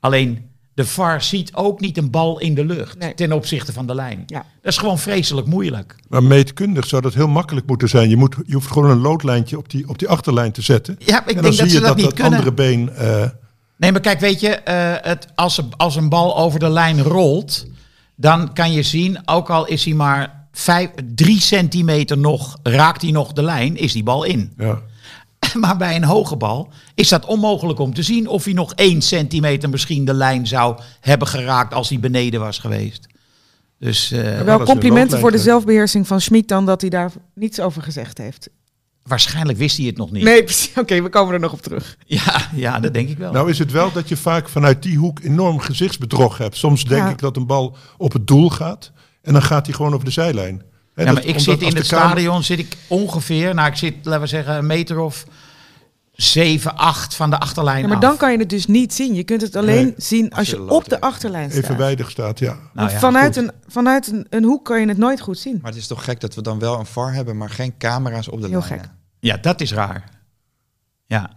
C: Alleen de VAR ziet ook niet een bal in de lucht
F: Nee.
C: ten opzichte van de lijn.
F: Ja.
C: Dat is gewoon vreselijk moeilijk.
D: Maar meetkundig zou dat heel makkelijk moeten zijn. Je, moet, je hoeft gewoon een loodlijntje op die, op die achterlijn te zetten.
C: Ja, ik
D: en dan
C: denk
D: zie
C: dat ze
D: je
C: dat
D: dat
C: niet
D: dat
C: kunnen.
D: andere been... eh,
C: Nee, maar kijk, weet je, eh, het, als, een- als een bal over de lijn rolt, dan kan je zien, ook al is hij maar vijf, drie centimeter nog, raakt hij nog de lijn, is die bal in.
D: ja.
C: Maar bij een hoge bal is dat onmogelijk om te zien of hij nog één centimeter misschien de lijn zou hebben geraakt als hij beneden was geweest. Dus eh,
D: dat
F: Wel
D: is een
F: complimenten voor de
D: loodlijntje.
F: zelfbeheersing van Schmid dan dat hij daar niets over gezegd heeft.
C: waarschijnlijk wist hij het nog niet.
F: Nee, precies. Oké, we komen er nog op terug.
C: Ja, ja, dat denk ik wel.
D: Nou is het wel dat je vaak vanuit die hoek enorm gezichtsbedrog hebt. Soms denk
F: Ja.
D: ik dat een bal op het doel gaat en dan gaat hij gewoon over de zijlijn. Hè,
C: ja,
D: dat-
C: maar ik
D: omdat
C: zit
D: als
C: in
D: de
C: het
D: camera-
C: stadion zit ik ongeveer, nou ik zit, laten we zeggen, een meter of 7, 8 van de achterlijn
F: Ja, maar
C: af.
F: dan kan je het dus niet zien. Je kunt het alleen
D: Nee,
F: zien als
B: als je
F: je
B: er
F: op
B: loopt,
F: de
B: even.
F: achterlijn staat.
D: Even weidig staat, ja.
C: Nou ja,
F: Want vanuit
D: goed.
F: een, vanuit een, een hoek kan je het nooit goed zien.
B: Maar het is toch gek dat we dan wel een VAR hebben, maar geen camera's op de
F: Heel
B: lijnen.
F: gek.
C: Ja, dat is raar. Ja.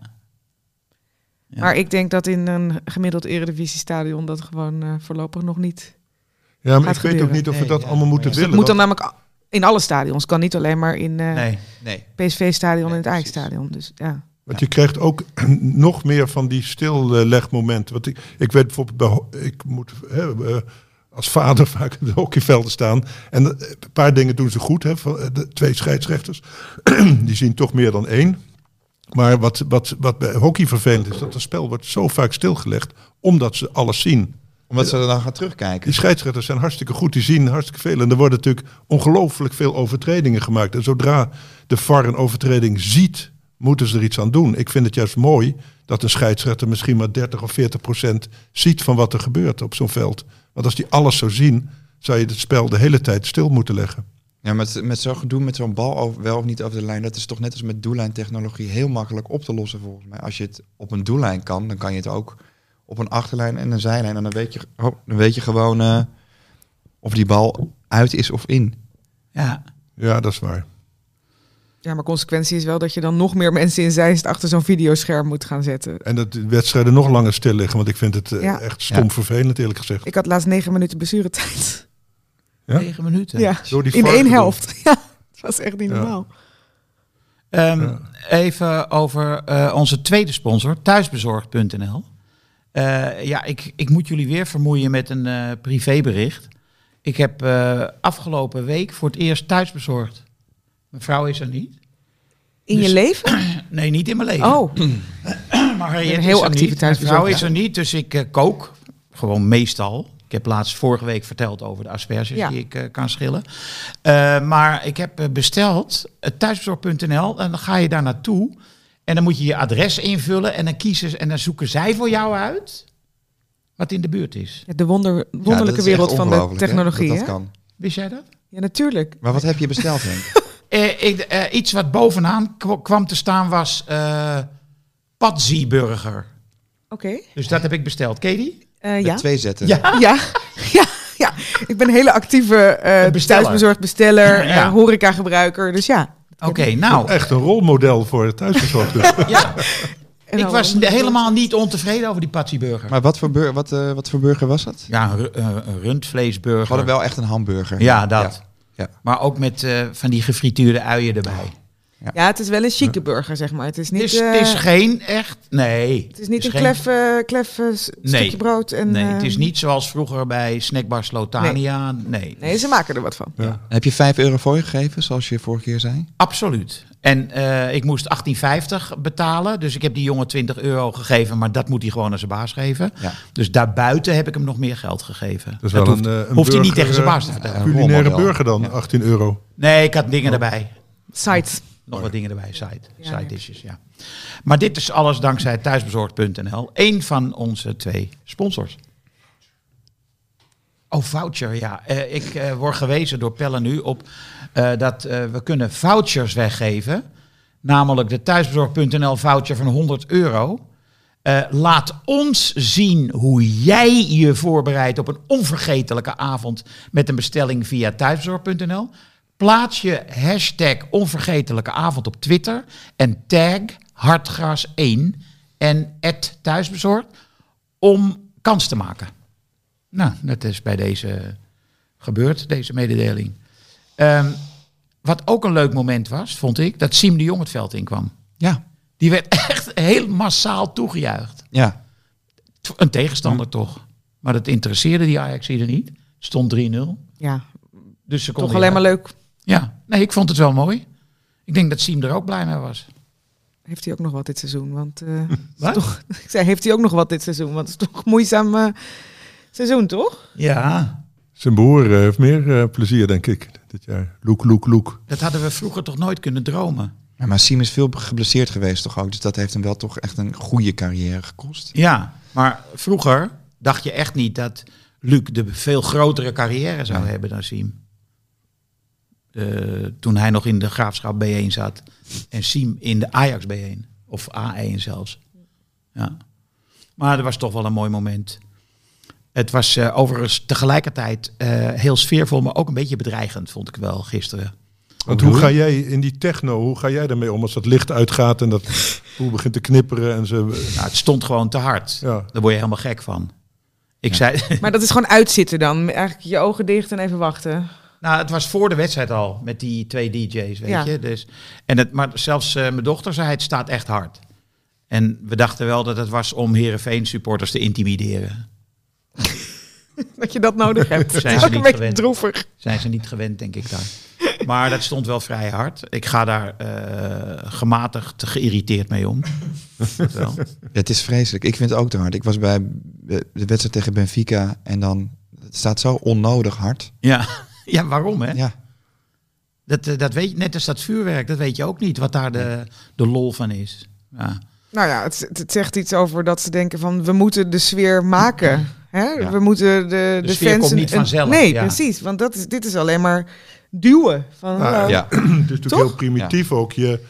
C: Ja.
F: Maar ik denk dat in een gemiddeld eredivisiestadion dat gewoon eh, voorlopig nog niet...
D: Ja, maar
F: Gaat
D: ik weet ook
F: gebeuren.
D: niet of we
B: Nee,
D: dat
B: ja,
D: allemaal moeten
B: maar
D: willen.
F: Het moet dan
D: want-
F: namelijk a- in alle stadions. kan niet alleen maar in eh
C: Nee.
B: Nee.
F: PSV-stadion en
B: Nee,
F: het
B: precies.
F: Ajax-stadion. Dus ja.
D: Want je krijgt ook nog meer van die stillegmomenten. Want ik, ik weet bijvoorbeeld, bij, ho- ik moet hè, eh, als vader vaak op de hockeyvelden staan. En eh, een paar dingen doen ze goed, hè, van, eh, de twee scheidsrechters. die zien toch meer dan één. Maar wat, wat, wat bij hockey vervelend is, dat het spel wordt zo vaak stilgelegd, omdat ze alles zien.
B: Omdat ze er dan gaan terugkijken.
D: Die scheidsrechters zijn hartstikke goed, die zien hartstikke veel. En er worden natuurlijk ongelooflijk veel overtredingen gemaakt. En zodra de VAR een overtreding ziet, moeten ze er iets aan doen. Ik vind het juist mooi dat een scheidsrechter misschien maar 30 of 40 procent ziet van wat er gebeurt op zo'n veld. Want als die alles zou zien, zou je het spel de hele tijd stil moeten leggen.
B: Ja, met, met zo'n gedoe, met zo'n bal over, wel of niet over de lijn, dat is toch net als met doellijntechnologie heel makkelijk op te lossen volgens mij. Als je het op een doellijn kan, dan kan je het ook op een achterlijn en een zijlijn. En dan weet je, oh, dan weet je gewoon eh, of die bal uit is of in.
C: Ja.
D: Ja, dat is waar.
F: ja, maar consequentie is wel dat je dan nog meer mensen in Zeist achter zo'n videoscherm moet gaan zetten.
D: En dat de wedstrijden nog langer stil liggen, want ik vind het eh,
F: Ja.
D: echt stom vervelend eerlijk gezegd.
F: Ik had laatst negen minuten blessuretijd.
D: Ja?
C: 9 minuten.
F: Ja,
D: Door die
F: in
D: VAR
F: één
D: gedoe.
F: helft. Ja, dat was echt niet
D: Ja.
F: normaal.
C: Ehm,
D: Ja.
C: Even over eh, onze tweede sponsor, thuisbezorgd.nl. Eh, ja, ik, ik moet jullie weer vermoeien met een eh, privébericht. Ik heb eh, afgelopen week voor het eerst thuisbezorgd. Mijn vrouw is er niet.
F: In
C: Dus-
F: je leven?
C: Nee, niet in mijn leven.
F: Oh,
C: maar Harriet
F: een heel
C: is er
F: actieve
C: niet. Mijn vrouw
F: thuisbezorgd,
C: is er niet, dus ik eh, kook. Gewoon meestal. Ik heb laatst vorige week verteld over de asperges
F: Ja.
C: die ik eh, kan schillen. Eh, maar ik heb eh, besteld eh, thuisbezorg.nl en dan ga je daar naartoe. En dan moet je je adres invullen en dan kiezen ze- en dan zoeken zij voor jou uit wat in de buurt is.
F: Ja, de wonder,
B: Ja, dat
F: wonderlijke
B: is echt
F: wereld van de
B: ongelooflijk, hè,
F: technologie.
B: Dat,
F: hè?
B: dat kan.
C: Wist jij dat?
F: Ja, natuurlijk.
B: Maar wat heb je besteld, Henk?
C: Eh, ik, eh, iets wat bovenaan kw- kwam te staan was eh Patsy-burger.
F: Oké.
C: Dus dat heb ik besteld. Ken je die?
F: Eh,
B: Met
F: ja. Ah,
B: twee zetten.
C: Ja.
F: ja. Ja. Ja. Ik ben een hele actieve eh
C: Besteller.
F: thuisbezorgd besteller,
C: Ja.
F: eh, horecagebruiker. Dus ja.
C: Oké, nou.
D: Echt een rolmodel voor het thuisbezorgd.
C: Ja,
F: En
C: ik
F: al-
C: was ne- helemaal niet ontevreden over die Patsy-burger.
B: Maar wat voor, bur- wat, eh, wat voor burger was dat?
C: Ja, een, ru- eh, een
B: We hadden
C: rundvleesburger.
B: wel echt een hamburger.
C: Ja, dat.
B: Ja. Ja.
C: Maar ook met eh, van die gefrituurde uien erbij.
F: Ja, het is wel een chique burger, zeg maar. Het is niet,
C: Het is,
F: eh,
C: het is geen echt... Nee.
F: het is niet een
C: geen-
F: klef, eh, klef eh, s-
C: Nee.
F: stukje brood. En,
C: Nee,
F: eh,
C: het is niet zoals vroeger bij snackbar Slotania. Nee,
F: Nee, ze maken er wat van.
D: Ja.
B: Heb je 5 euro voor je gegeven, zoals je vorige keer zei?
C: absoluut. En eh, ik moest 18,50 betalen. Dus ik heb die jongen 20 euro gegeven. Maar dat moet hij gewoon aan zijn baas geven.
B: Ja.
C: Dus daarbuiten heb ik hem nog meer geld gegeven. Dat,
D: is wel
C: hoeft,
D: een, eh, een
C: hoeft hij niet
D: burger,
C: tegen zijn
D: eh,
C: baas te vertellen.
D: Culinaire
B: rolmodel.
D: burger dan, 18 euro.
C: Nee, ik had dingen erbij.
F: Sites.
C: Nog wat dingen erbij, side,
F: Ja,
C: side
F: ja.
C: dishes, ja. Maar dit is alles dankzij thuisbezorgd.nl. Eén van onze twee sponsors. Oh, voucher, ja. Eh, ik eh, word gewezen door Pelle nu op eh, dat eh, we kunnen vouchers weggeven. Namelijk de thuisbezorgd.nl voucher van 100 euro. Eh, laat ons zien hoe jij je voorbereidt op een onvergetelijke avond met een bestelling via thuiszorg.nl. Plaats je hashtag onvergetelijke avond op Twitter en tag hartgras1 en @thuisbezorgd om kans te maken. Nou, dat is bij deze gebeurd, deze mededeling. Ehm, wat ook een leuk moment was, vond ik, dat Siem de Jong het veld inkwam.
B: Ja.
C: Die werd echt heel massaal toegejuicht.
B: Ja.
C: T- Een tegenstander toch. Maar dat interesseerde die Ajax er niet. Stond 3-0.
F: Ja,
C: Dus ze kon
F: toch alleen maar leuk.
C: Ja, nee, ik vond het wel mooi. Ik denk dat Siem er ook blij mee was.
F: Heeft hij ook nog wat dit seizoen? Want eh, het is
C: Wat?
F: toch, ik zei, heeft hij ook nog wat dit seizoen? Want het is toch een moeizaam eh, seizoen, toch?
C: Ja.
D: Zijn broer eh, heeft meer eh, plezier, denk ik, dit jaar. Loek, loek, loek.
C: Dat hadden we vroeger toch nooit kunnen dromen.
B: Ja, Maar Siem is veel geblesseerd geweest toch ook. Dus dat heeft hem wel toch echt een goede carrière gekost.
C: Ja, maar vroeger dacht je echt niet dat Luc de veel grotere carrière zou hebben dan Siem. Eh, toen hij nog in de graafschap B1 zat. En Siem in de Ajax B1. Of A1 zelfs. Ja. Maar dat was toch wel een mooi moment. Het was eh, overigens tegelijkertijd eh, heel sfeervol, maar ook een beetje bedreigend, vond ik wel gisteren.
D: Want hoe ga jij in die techno, hoe ga jij daarmee om als dat licht uitgaat en dat hoe begint te knipperen en ze...
C: Nou, het stond gewoon te hard.
D: Ja.
C: Daar word je helemaal gek van. Ik zei,
F: Maar dat is gewoon uitzitten dan. Eigenlijk je ogen dicht en even wachten.
C: Nou, het was voor de wedstrijd al met die twee DJ's, weet
F: Ja.
C: je. Dus, en het, maar zelfs eh, mijn dochter zei, het staat echt hard. En we dachten wel dat het was om Herenveen supporters te intimideren.
F: Dat je dat nodig hebt.
C: Zijn
F: Het
C: ze
F: is ook een
C: niet
F: beetje
C: gewend.
F: droevig.
C: Zijn ze niet gewend, denk ik daar. Maar dat stond wel vrij hard. Ik ga daar eh, gematigd geïrriteerd mee om. Dat wel.
B: Het is vreselijk. Ik vind het ook te hard. Ik was bij eh, de wedstrijd tegen Benfica en dan... Het staat zo onnodig hard.
C: Ja. ja, waarom hè?
B: Ja.
C: Dat, eh, dat weet je, net als dat vuurwerk, dat weet je ook niet wat daar de, de lol van is. Ja.
F: Nou ja, het, het zegt iets over dat ze denken van we moeten de sfeer maken. Hè?
B: Ja.
F: We moeten de,
C: De
F: de,
C: sfeer
F: fans
C: komt
F: een-
C: niet
F: een-
C: vanzelf,
F: nee,
C: ja.
F: precies. Want dat is, dit is alleen maar duwen. Van, eh,
D: Nou,
F: hallo.
B: Ja.
D: Het is natuurlijk
F: Toch?
D: heel primitief ook. Je,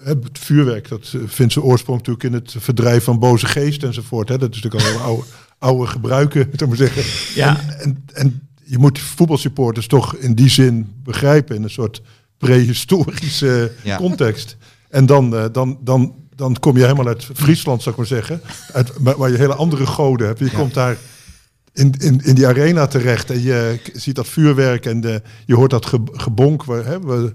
D: het vuurwerk, dat eh, vindt zijn oorsprong natuurlijk in het verdrijf van boze geesten enzovoort. Hè. Dat is natuurlijk al heel oude, oude gebruiken, zou ik maar zeggen.
C: Ja.
D: En, en, en je moet voetbalsupporters toch in die zin begrijpen in een soort prehistorische
B: Ja.
D: context. En dan, eh, dan, dan, dan kom je helemaal uit Friesland, zou ik maar zeggen. Uit, waar waar je hele andere goden hebt. Je komt daar in, in, in die arena terecht en je k- ziet dat vuurwerk en de, je hoort dat ge- gebonk waar, hè, we-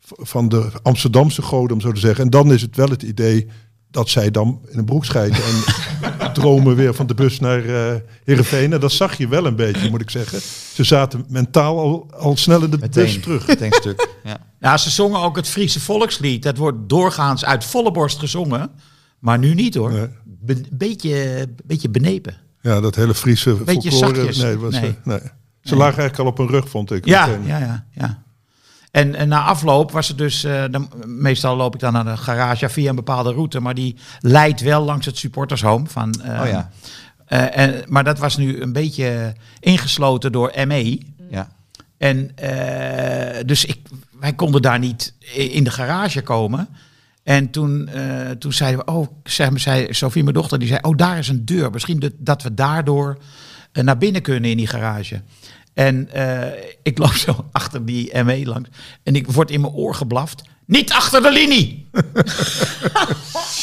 D: v- van de Amsterdamse goden, om zo te zeggen. En dan is het wel het idee dat zij dan in een broek schijten en dromen weer van de bus naar eh Heerenveen. En dat zag je wel een beetje, moet ik zeggen. Ze zaten mentaal al, al snel in de bus
B: Meteen.
D: terug.
B: Meteen stuk. Ja.
C: Nou, ze zongen ook het Friese volkslied. Dat wordt doorgaans uit volle borst gezongen. Maar nu niet hoor.
D: Nee.
C: Be- beetje, beetje benepen.
D: Ja, dat hele Friese
C: Beetje
D: folklore.
C: zachtjes.
D: Nee, was, eh,
C: Nee.
D: nee. Ze lagen eigenlijk al op hun rug, vond ik.
C: Ja,
D: meteen.
C: ja, ja, ja. En, en na afloop was het dus, eh, dan, meestal loop ik dan naar de garage ja, via een bepaalde route, maar die leidt wel langs het supportershome van. eh,
B: Oh ja.
C: eh, en, maar dat was nu een beetje ingesloten door E. ME.
B: Ja.
C: En eh, dus ik, wij konden daar niet i- in de garage komen. En toen, eh, toen zeiden we, oh, zeg maar, zei Sophie, mijn dochter, die zei, oh, daar is een deur. Misschien dat, dat we daardoor eh, naar binnen kunnen in die garage. En eh, ik loop zo achter die ME langs. En ik word in mijn oor geblaft. Niet achter de linie!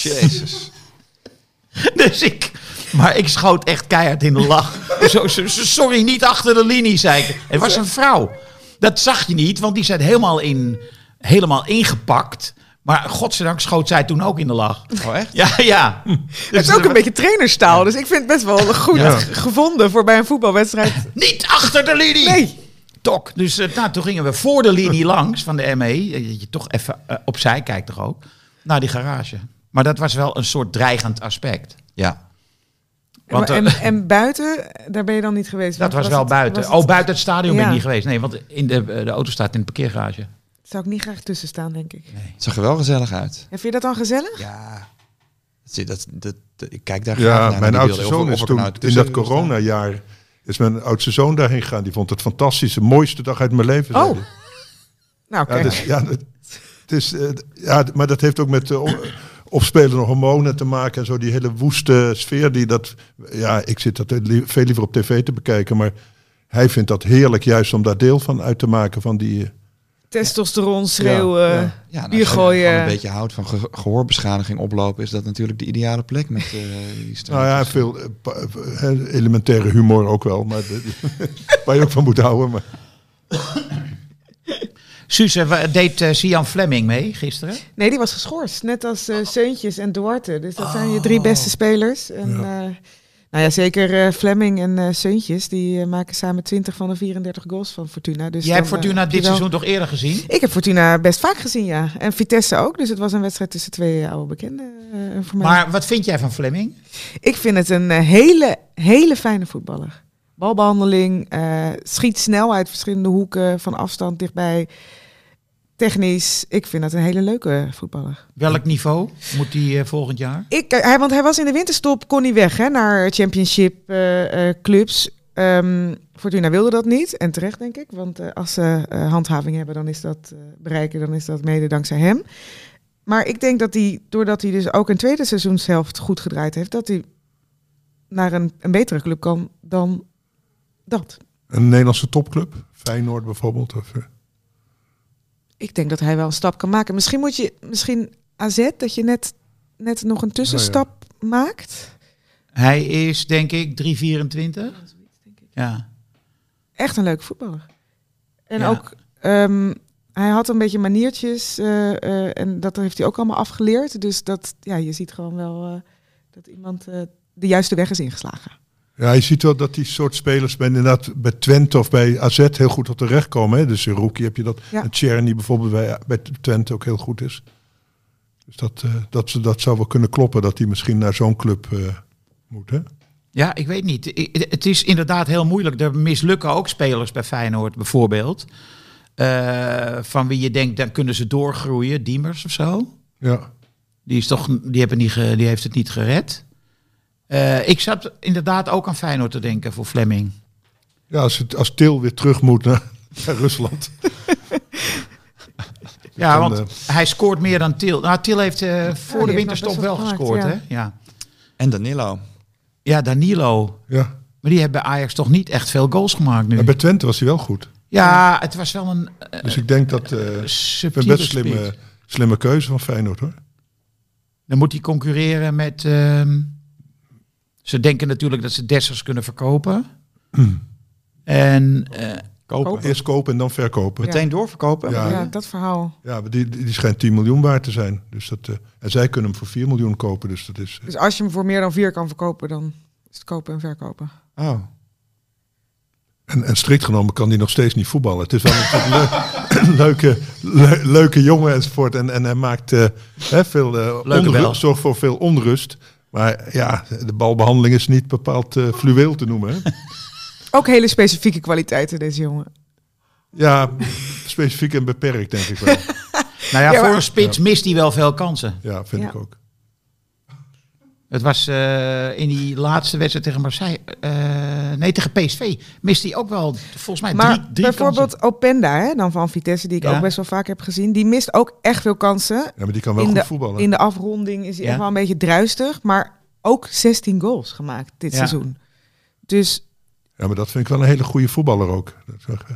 B: Jezus.
C: Dus ik... Maar ik schoot echt keihard in de lach. Zo, zo- zo- sorry, niet achter de linie, zei ik. Het was een vrouw. Dat zag je niet, want die zat helemaal, in, helemaal ingepakt. Maar godzijdank schoot zij toen ook in de lach.
B: Oh echt?
C: Ja, ja. Dus
F: Het Hm. is ook een beetje trainerstaal, dus ik vind het best wel goed
D: Ja.
F: gevonden voor bij een voetbalwedstrijd.
C: Niet achter de linie!
F: Nee.
C: Tok. Dus eh, nou, toen gingen we voor de linie langs van de ME. Eh, Dat je toch even eh, opzij kijkt toch ook. Naar die garage. Maar dat was wel een soort dreigend aspect.
B: Ja.
C: Want,
F: en,
C: eh,
F: en buiten, daar ben je dan niet geweest?
C: Dat
F: Wat
C: was wel
F: het?
C: buiten.
F: Was het-
C: oh, buiten het stadion ben ik
F: Ja.
C: niet geweest. Nee, want in de, eh, de auto staat in de parkeergarage.
F: Zou ik niet graag tussen staan, denk ik.
B: Het zag er wel gezellig uit.
F: En vind je dat dan gezellig?
B: Ja. Zie, dat, dat, ik kijk daar graag
D: Ja,
B: naar.
D: mijn
B: die
D: oudste
B: beelden. Of-
D: zoon
B: of
D: is
B: ik
D: toen
B: nou
D: in
B: tussen
D: dat
B: wil staan.
D: coronajaar is mijn oudste zoon daarheen gegaan. Die vond het fantastisch, de mooiste dag uit mijn leven. zei
F: Oh,
D: hij.
F: Nou,
D: ja,
F: kijk.
D: dus, ja, dat- het is, eh, d- ja, d- maar dat heeft ook met eh, o- opspelende hormonen te maken en zo die hele woeste sfeer die dat. Ja, ik zit dat li- veel liever op tv te bekijken, maar hij vindt dat heerlijk juist om daar deel van uit te maken van die. eh,
F: Testosteron, schreeuwen.
D: Ja, ja.
B: Ja, nou, als
F: Bier
B: je gewoon
F: gooien.
B: een beetje houdt van ge- gehoorbeschadiging oplopen, is dat natuurlijk de ideale plek met eh die straat.
D: nou ja, veel eh, pa- eh, elementaire humor ook wel, maar waar je ook van moet houden. Maar
C: Suze, wa- deed eh, Sian Fleming mee gisteren?
F: Nee, die was geschorst. Net als
C: Oh.
F: eh Seuntjes en Duarte. Dus dat zijn je drie beste spelers. En, eh, nou ja, zeker eh, Fleming en eh Seuntjes. Die eh, maken samen 20 van de 34 goals van Fortuna. Dus
C: Jij
F: dan,
C: hebt Fortuna
F: eh,
C: dit
F: jawel.
C: seizoen toch eerder gezien?
F: Ik heb Fortuna best vaak gezien, ja. En Vitesse ook. Dus het was een wedstrijd tussen twee eh, oude bekenden eh, voor mij.
C: Maar wat vind jij van Fleming?
F: Ik vind het een eh, hele, hele fijne voetballer. Balbehandeling, eh, schiet snel uit verschillende hoeken, van afstand, dichtbij. Technisch, ik vind dat een hele leuke voetballer.
C: Welk niveau moet hij eh, volgend jaar?
F: Ik, eh, hij, want hij was in de winterstop, kon hij weg hè, naar championship eh, eh, clubs. Ehm, Fortuna wilde dat niet, en terecht denk ik. Want eh, als ze eh, handhaving hebben, dan is dat eh, bereiken, dan is dat mede dankzij hem. Maar ik denk dat hij, doordat hij dus ook een tweede seizoenshelft goed gedraaid heeft, dat hij naar een, een betere club kan dan dat.
D: een Nederlandse topclub, Feyenoord bijvoorbeeld. Of, eh,
F: Ik denk dat hij wel een stap kan maken. Misschien moet je, misschien AZ, dat je net, net nog een tussenstap maakt.
C: Hij is denk ik 3,24. Ja.
F: Echt een leuke voetballer. En
C: Ja.
F: ook, ehm, hij had een beetje maniertjes eh, eh, en dat heeft hij ook allemaal afgeleerd. Dus dat, ja, je ziet gewoon wel eh, dat iemand eh, de juiste weg is ingeslagen.
D: Ja, je ziet wel dat die soort spelers bij, inderdaad bij Twente of bij AZ heel goed tot terecht komen. Hè? Dus in Rookie heb je dat.
F: Ja.
D: En Tjerni bijvoorbeeld bij, bij Twente ook heel goed is. Dus dat, eh, dat, ze- dat zou wel kunnen kloppen dat hij misschien naar zo'n club eh, moet. Hè?
C: Ja, ik weet niet. I- Het is inderdaad heel moeilijk. Er mislukken ook spelers bij Feyenoord bijvoorbeeld. Eh, van wie je denkt, dan kunnen ze doorgroeien. Diemers of zo.
D: Ja.
C: Die, is toch, die, hebben niet ge- die heeft het niet gered. Eh, ik zat inderdaad ook aan Feyenoord te denken voor Fleming.
D: Ja, als, het, als Til weer terug moet naar, naar Rusland.
C: Ja,
D: Dan,
C: want
D: eh,
C: hij scoort meer dan Til. Nou, Til heeft eh, voor
F: heeft
C: de
F: nog
C: winterstop
F: best
C: wel
F: wat gemaakt,
C: gescoord,
F: ja.
C: hè? Ja.
B: En Danilo.
C: ja, Danilo.
D: ja.
C: Maar die heeft bij Ajax toch niet echt veel goals gemaakt nu.
D: En bij Twente was hij wel goed.
C: Ja, het was wel een eh,
D: Dus ik denk dat. eh een
C: subtiele
D: best
C: slimme.
D: slimme, slimme keuze van Feyenoord hoor.
C: Dan moet hij concurreren met... ehm, ze denken natuurlijk dat ze Dessers kunnen verkopen. En eh,
B: Kopen.
F: Kopen.
D: Eerst kopen en dan verkopen.
B: Meteen doorverkopen.
D: Ja.
F: ja dat verhaal.
D: Ja, maar die, die die schijnt 10 miljoen waard te zijn. Dus dat, eh, en zij kunnen hem voor 4 miljoen kopen. Dus dat is. eh,
F: Dus als je hem voor meer dan vier kan verkopen, dan is het kopen en verkopen.
B: Oh.
D: en, en strikt genomen kan hij nog steeds niet voetballen. Het is wel een le- leuke, le- leuke jongen enzovoort. En, en hij maakt eh, hè, veel eh,
C: Leuke bel.
D: onrust, zorgt voor veel onrust. Maar ja, de balbehandeling is niet bepaald eh, fluweel te noemen. Hè?
F: Ook hele specifieke kwaliteiten, deze jongen.
D: Ja, specifiek en beperkt denk ik wel.
C: Nou ja,
F: Ja, maar-
C: voor een spits mist hij wel veel kansen.
D: Ja, vind
F: Ja.
D: ik ook.
C: Het was eh, in die laatste wedstrijd tegen Marseille, eh, nee tegen PSV, mist hij ook wel volgens mij
F: Maar
C: drie, drie
F: bijvoorbeeld Openda, hè, dan van Vitesse, die ik
C: Ja.
F: ook best wel vaak heb gezien, die mist ook echt veel kansen.
D: Ja, maar die kan wel
F: in,
D: goed
F: de,
D: voetballen.
F: in de afronding is hij
C: Ja.
F: echt wel een beetje druistig, maar ook 16 goals gemaakt dit
C: Ja.
F: seizoen. Dus
D: Ja, maar dat vind ik wel een hele goede voetballer ook. Dat zou ik, eh,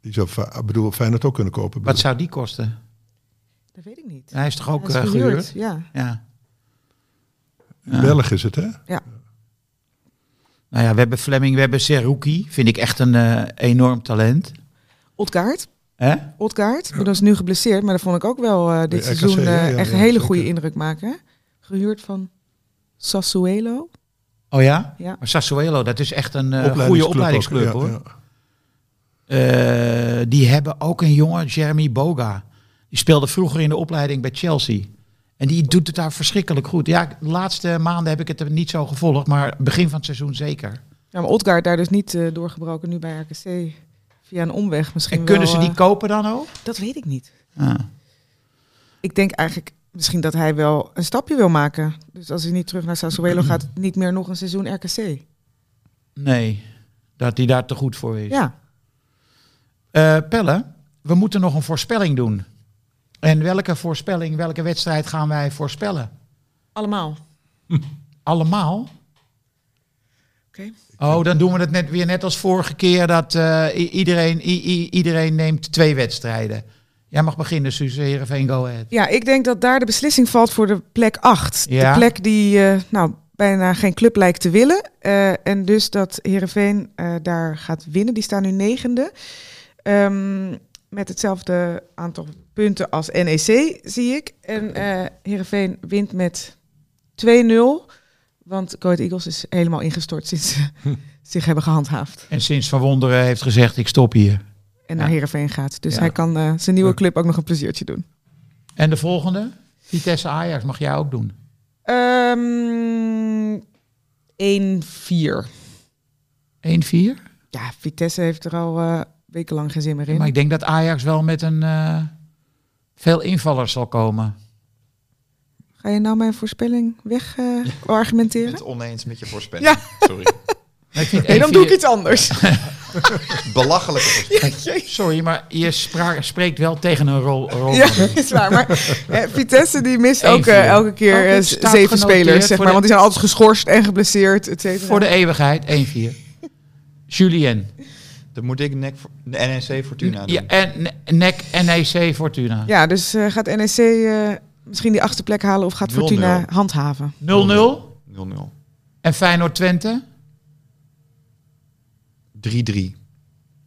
D: Die zou fa- ik bedoel, Feyenoord ook kunnen kopen.
C: Wat zou die kosten?
F: dat weet ik niet.
C: Hij is toch ook
F: Hij is
C: eh,
F: gehuurd,
C: gehuurd?
F: Ja.
C: Ja.
D: In België is het, hè?
C: Nou ja, we hebben Fleming, we hebben Seruki. Vind ik echt een eh, enorm talent.
F: Otkaart,
C: Hè?
F: Otkaart, ik bedoel, dat is nu geblesseerd, maar dat vond ik ook wel eh, dit
D: Bij RKC,
F: seizoen eh,
D: ja, ja,
F: echt een
D: ja,
F: hele
D: zeker.
F: goede indruk maken. hè. Gehuurd van Sassuelo.
C: Oh ja?
F: Ja.
C: Maar Sassuolo, dat is echt een eh,
D: Opleidingsclub
C: goede
D: ook,
C: opleidingsclub
D: ja,
C: hoor.
D: ja.
C: Eh, die hebben ook een jongen, Jeremy Boga. Die speelde vroeger in de opleiding bij Chelsea. En die doet het daar verschrikkelijk goed. Ja, de laatste maanden heb ik het er niet zo gevolgd, maar begin van het seizoen zeker.
F: Ja, maar Otgaard daar dus niet eh, doorgebroken, nu bij RKC. Via een omweg misschien
C: En kunnen
F: wel,
C: ze die
F: eh,
C: kopen dan ook?
F: dat weet ik niet.
C: Ah.
F: Ik denk eigenlijk misschien dat hij wel een stapje wil maken. Dus als hij niet terug naar Sassuolo gaat, niet meer nog een seizoen RKC.
C: Nee, dat hij daar te goed voor is.
F: Ja,
C: Eh, Pelle, we moeten nog een voorspelling doen. En welke voorspelling, welke wedstrijd gaan wij voorspellen?
F: allemaal.
C: Allemaal?
F: Oké.
C: Oh, dan doen we het net weer net als vorige keer dat eh, i- iedereen, i- i- iedereen neemt twee wedstrijden. Jij mag beginnen, Suus Heerenveen Go Ahead.
F: Ja, ik denk dat daar de beslissing valt voor de plek 8.
C: Ja.
F: De plek die eh, nou, bijna geen club lijkt te willen. Eh, en dus dat Herenveen daar gaat winnen. Die staan nu negende. Ehm, met hetzelfde aantal punten als NEC, zie ik. En eh Herenveen wint met 2-0. Want Go Ahead Eagles is helemaal ingestort sinds ze zich hebben gehandhaafd.
C: En sinds Van Wonderen heeft gezegd, ik stop hier.
F: En naar
C: Ja.
F: Herenveen gaat. Dus
C: Ja.
F: hij kan eh, zijn nieuwe club ook nog een pleziertje doen.
C: En de volgende? Vitesse Ajax mag jij ook doen.
F: Ehm 1-4.
C: 1-4?
F: Ja, Vitesse heeft er al eh, wekenlang geen zin meer in.
C: Maar ik denk dat Ajax wel met een eh, veel invallers zal komen.
F: Ga je nou mijn voorspelling weg eh, argumenteren?
B: het oneens met je voorspelling. Sorry.
C: Maar ik vind
F: Nee, dan doe ik
C: 1-4
F: iets anders.
B: Belachelijke voorspelling.
C: Sorry, maar je spra- spreekt wel tegen een rol. rol
F: ja, is waar. Maar eh, Vitesse die mist ook
C: 1-4.
F: eh, elke keer
C: Oh,
F: eh,
C: dit staat
F: zeven
C: genoteerd
F: spelers,
C: voor
F: zeg maar.
C: de-
F: Want die zijn altijd geschorst en geblesseerd, et cetera.
C: Voor de eeuwigheid, 1-4. Julien.
B: Dan moet ik nek voor, de NEC Fortuna doen.
C: Ja, en NEC, NEC, Fortuna. 0-0?
F: Ja, dus eh, gaat NEC eh, misschien die achtste plek halen of gaat
B: 0-0.
F: Fortuna handhaven?
B: 0-0.
C: En Feyenoord Twente?
B: 3-3.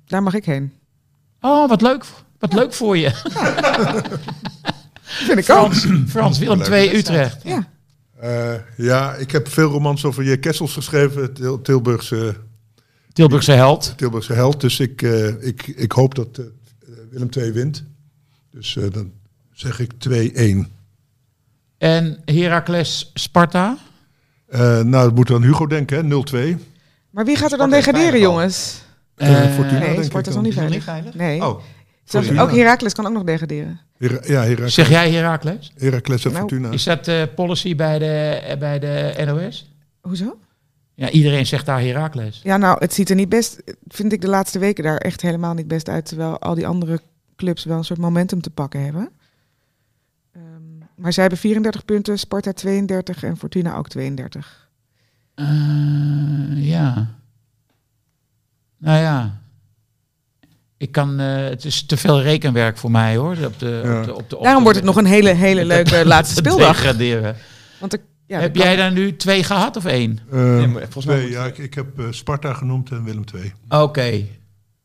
F: Daar mag ik heen.
C: Oh, wat leuk. Wat leuk voor je.
F: Vind ik ook.
C: Frans, Frans Willem
D: Leuke
C: 2 Utrecht.
F: Ja.
D: Eh, ja, ik heb veel romans over J. Kessels geschreven. het Til- Tilburgse,
C: Tilburgse held.
D: Tilburgse held. Dus ik, eh, ik, ik hoop dat eh, Willem II wint. Dus eh, dan zeg ik 2-1.
C: En Heracles Sparta.
D: Eh, nou, dat moet aan Hugo denken, hè? 0-2.
F: Maar wie gaat er dan
B: Sparta is
F: degraderen,
B: veilig al.
F: jongens?
D: Eh,
C: Eh,
D: Fortuna,
F: nee,
D: denk
F: Sparta
D: ik
F: is
D: dan.
F: nog niet
B: Nog niet veilig?
F: Nee.
B: Oh,
F: Zelfs-
D: Fortuna.
F: ook Herakles kan ook nog degraderen.
D: Hera- ja, Heracles,
C: Zeg jij Heracles?
D: Heracles en
F: Nou,
D: Fortuna.
C: Is dat eh, policy bij de, eh, bij de NOS?
F: Hoezo?
C: Ja, iedereen zegt daar Heracles.
F: Ja, nou, het ziet er niet best, vind ik de laatste weken daar echt helemaal niet best uit. Terwijl al die andere clubs wel een soort momentum te pakken hebben. Ehm, maar zij hebben 34 punten, Sparta 32 en Fortuna ook 32.
C: Eh, ja. Nou ja. Ik kan, eh, het is te veel rekenwerk voor mij hoor. Op de,
D: Ja.
C: op de, op de,
F: Daarom wordt het nog een hele, hele leuke laatste speeldag.
C: Degraderen.
F: Want er- ja, er
C: Heb
F: kan-
C: jij daar nu twee gehad of één?
D: Eh,
B: Nee, maar volgens mij
D: twee,
B: moet-
D: ja, ik, ik heb eh, Sparta genoemd en Willem II.
C: Oké.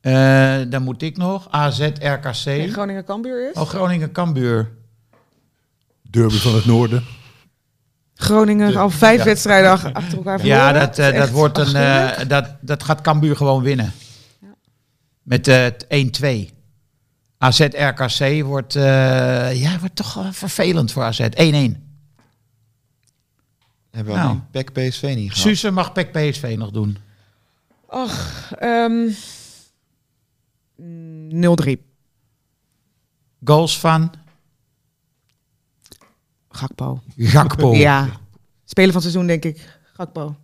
C: Eh, dan moet ik nog. AZ, RKC.
F: Nee, Groningen Cambuur is?
C: oh, Groningen, Cambuur.
D: Derby van het Noorden.
F: Groningen al vijf wedstrijden ach- achter elkaar verloren.
C: Ja, dat, eh,
F: Echt
C: dat, wordt een, eh,
F: afschuwelijk.
C: dat, dat gaat Cambuur gewoon winnen.
F: Ja.
C: Met eh, t- 1-2. AZ, RKC wordt, eh, ja, wordt toch wel vervelend voor AZ. 1-1.
B: Hebben we
C: Nou.
B: nou. PEC PSV niet gehad?
C: Suze mag PEC PSV nog doen.
F: Och, ehm, mm, 0-3.
C: Goals van
F: Gakpo.
C: Gakpo.
F: Ja. Spelen van het seizoen, denk ik. Gakpo.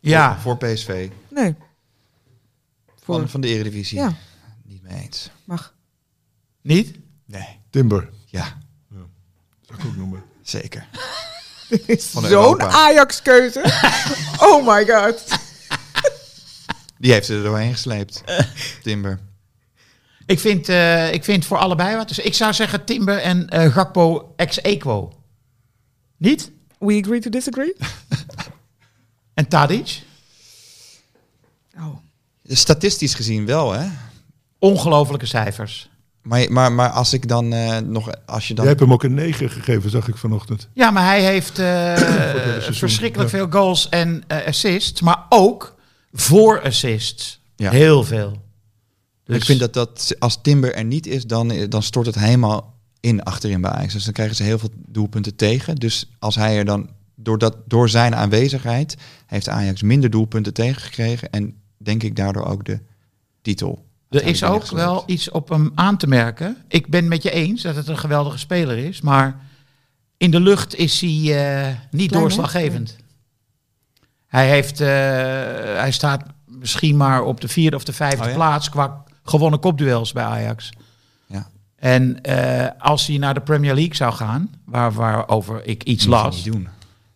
C: Ja.
B: Voor PSV.
F: Nee. Voor.
B: Van, van de Eredivisie.
F: Ja,
B: Niet mee eens.
F: mag.
C: Niet?
B: Nee.
D: Timber,
B: Ja,
D: zou ik ook noemen.
B: zeker. Van
F: Zo'n
B: Europa.
F: Ajax-keuze. oh my god.
B: Die heeft ze er doorheen gesleept. Timber.
C: Ik vind, eh, ik vind voor allebei wat. Dus ik zou zeggen Timber en eh, Gakpo ex equo. Niet?
F: We agree to disagree?
C: En Tadic?
F: Oh.
B: Statistisch gezien wel, hè?
C: Ongelofelijke cijfers.
B: Maar, maar, maar als ik dan eh, nog... Als je dan...
D: Jij hebt hem ook een 9 gegeven, zag ik vanochtend.
C: Ja, maar hij heeft eh, verschrikkelijk veel goals en eh, assists. Maar ook voor assists.
B: Ja.
C: Heel veel. Dus
B: Ik vind dat, dat als Timber er niet is, dan, dan stort het helemaal in achterin bij Ajax. Dus dan krijgen ze heel veel doelpunten tegen. Dus als hij er dan, door, dat, door zijn aanwezigheid, heeft Ajax minder doelpunten tegengekregen. En denk ik daardoor ook de titel.
C: Er is ook wel iets op hem aan te merken. Ik ben met je eens dat het een geweldige speler is, maar in de lucht is hij eh, niet
F: Klein,
C: doorslaggevend. Hij, heeft, eh, hij staat misschien maar op de vierde of de vijfde
B: Oh ja?
C: plaats qua gewonnen kopduels bij Ajax.
B: Ja.
C: En eh, als hij naar de Premier League zou gaan, waar, waarover ik iets las,
B: Niet doen.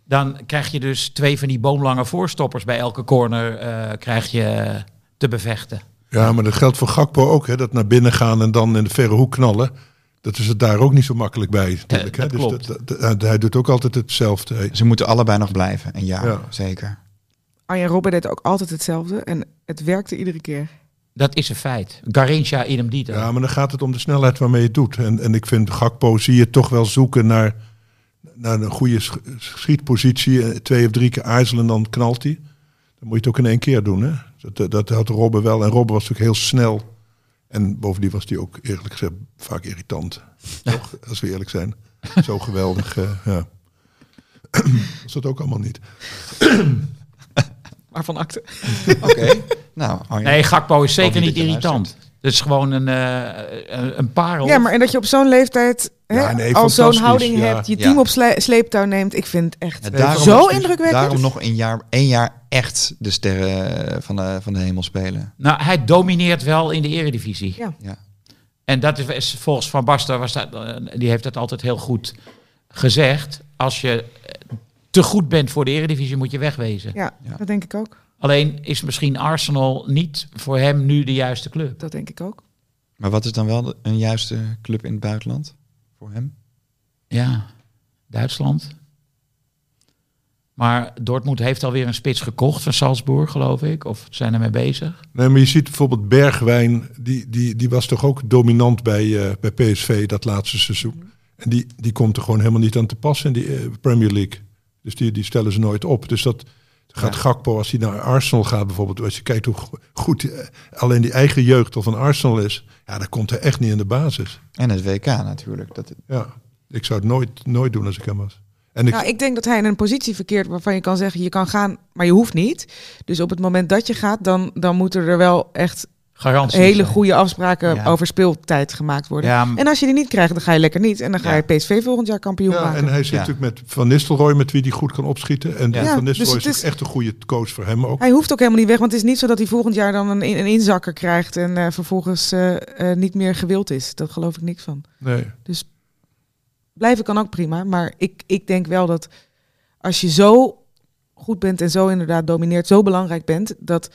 C: dan krijg je dus twee van die boomlange voorstoppers bij elke corner eh, krijg je te bevechten.
D: Ja, maar dat geldt voor Gakpo ook, hè, dat naar binnen gaan en dan in de verre hoek knallen. Dat is het daar ook niet zo makkelijk bij. Natuurlijk,
C: Eh,
D: hè.
C: dat
D: Dus
C: klopt.
D: dat- dat- hij doet ook altijd hetzelfde. Hij-
B: Ze moeten allebei nog blijven. En ja,
D: Ja.
B: zeker.
F: Arjen Robben deed ook altijd hetzelfde en het werkte iedere keer.
C: Dat is een feit. Garincha idem dito.
D: Ja, maar dan gaat het om de snelheid waarmee je het doet. En, en ik vind Gakpo zie je toch wel zoeken naar, naar een goede sch- schietpositie. Eh, Twee of drie keer aarzelen, dan knalt hij. Dan moet je het ook in één keer doen. Hè? Dat, eh, dat- dat had Robben wel. En Robben was natuurlijk heel snel. En bovendien was hij ook, eerlijk gezegd, vaak irritant. Toch, als we eerlijk zijn. Zo geweldig. eh, ja. was dat ook allemaal niet.
F: Maar van akte.
B: Oké. nou, Arjen.
C: Nee, Gakpo is zeker
B: Hoop niet
C: niet
B: dat je
C: irritant. Het is gewoon een, eh, een- een parel.
F: Ja, maar en dat je op zo'n leeftijd hè,
D: Ja, nee,
F: al zo'n
D: fantastisch,
F: houding
D: ja.
F: hebt, je
B: Ja.
F: team op sle- sleeptouw neemt, ik vind het echt
B: Ja, daarom-
F: zo indrukwekkend.
B: Daarom nog een jaar, één jaar echt de sterren eh, van de, van de hemel spelen.
C: Nou, hij domineert wel in de eredivisie.
F: Ja.
B: Ja.
C: En dat is- is volgens Van Basten, was dat, eh, die heeft dat altijd heel goed gezegd. Als je eh, te goed bent voor de eredivisie, moet je wegwezen.
F: Ja,
B: Ja.
F: dat denk ik ook.
C: Alleen is misschien Arsenal niet voor hem nu de juiste club.
F: Dat denk ik ook.
B: Maar wat is dan wel de- een juiste club in het buitenland voor hem?
C: Ja, Duitsland. Maar Dortmund heeft alweer een spits gekocht van Salzburg, geloof ik. Of zijn er mee bezig.
D: Nee, maar je ziet bijvoorbeeld Bergwijn, die, die, die was toch ook dominant bij, eh, bij PSV dat laatste
F: Mhm.
D: seizoen. En die, die komt er gewoon helemaal niet aan te pas in die eh, Premier League. Dus die, die stellen ze nooit op. Dus dat gaat Gakpo, als hij naar Arsenal gaat bijvoorbeeld, als je kijkt hoe go- goed die, eh, alleen die eigen jeugd al van Arsenal is, ja, dat komt er echt niet in de basis.
B: En het WK natuurlijk. Dat,
D: Ja, ik zou het nooit, nooit doen als ik hem was. En ik,
F: Nou, ik denk dat hij in een positie verkeert waarvan je kan zeggen, je kan gaan, maar je hoeft niet. Dus op het moment dat je gaat, dan, dan moeten er wel echt
C: Garantie.
F: hele goede afspraken
C: Ja.
F: over speeltijd gemaakt worden.
C: Ja, m-
F: En als je die niet krijgt, dan ga je lekker niet. En dan ga
C: Ja.
F: je PSV volgend jaar kampioen
D: ja,
F: maken.
D: en eh, hij zit
B: Ja.
D: natuurlijk met Van Nistelrooy, met wie hij goed kan opschieten. En
F: Ja.
D: Van
F: Ja, dus
D: Nistelrooy
F: het
D: is,
F: is-
D: ook echt een goede coach voor hem ook.
F: Hij hoeft ook helemaal niet weg, want het is niet zo dat hij volgend jaar dan een, in- een inzakker krijgt en eh, vervolgens eh, eh, niet meer gewild is. Dat geloof ik niks van.
D: Nee.
F: Blijven kan ook prima, maar ik, ik denk wel dat als je zo goed bent en zo inderdaad domineert, zo belangrijk bent, dat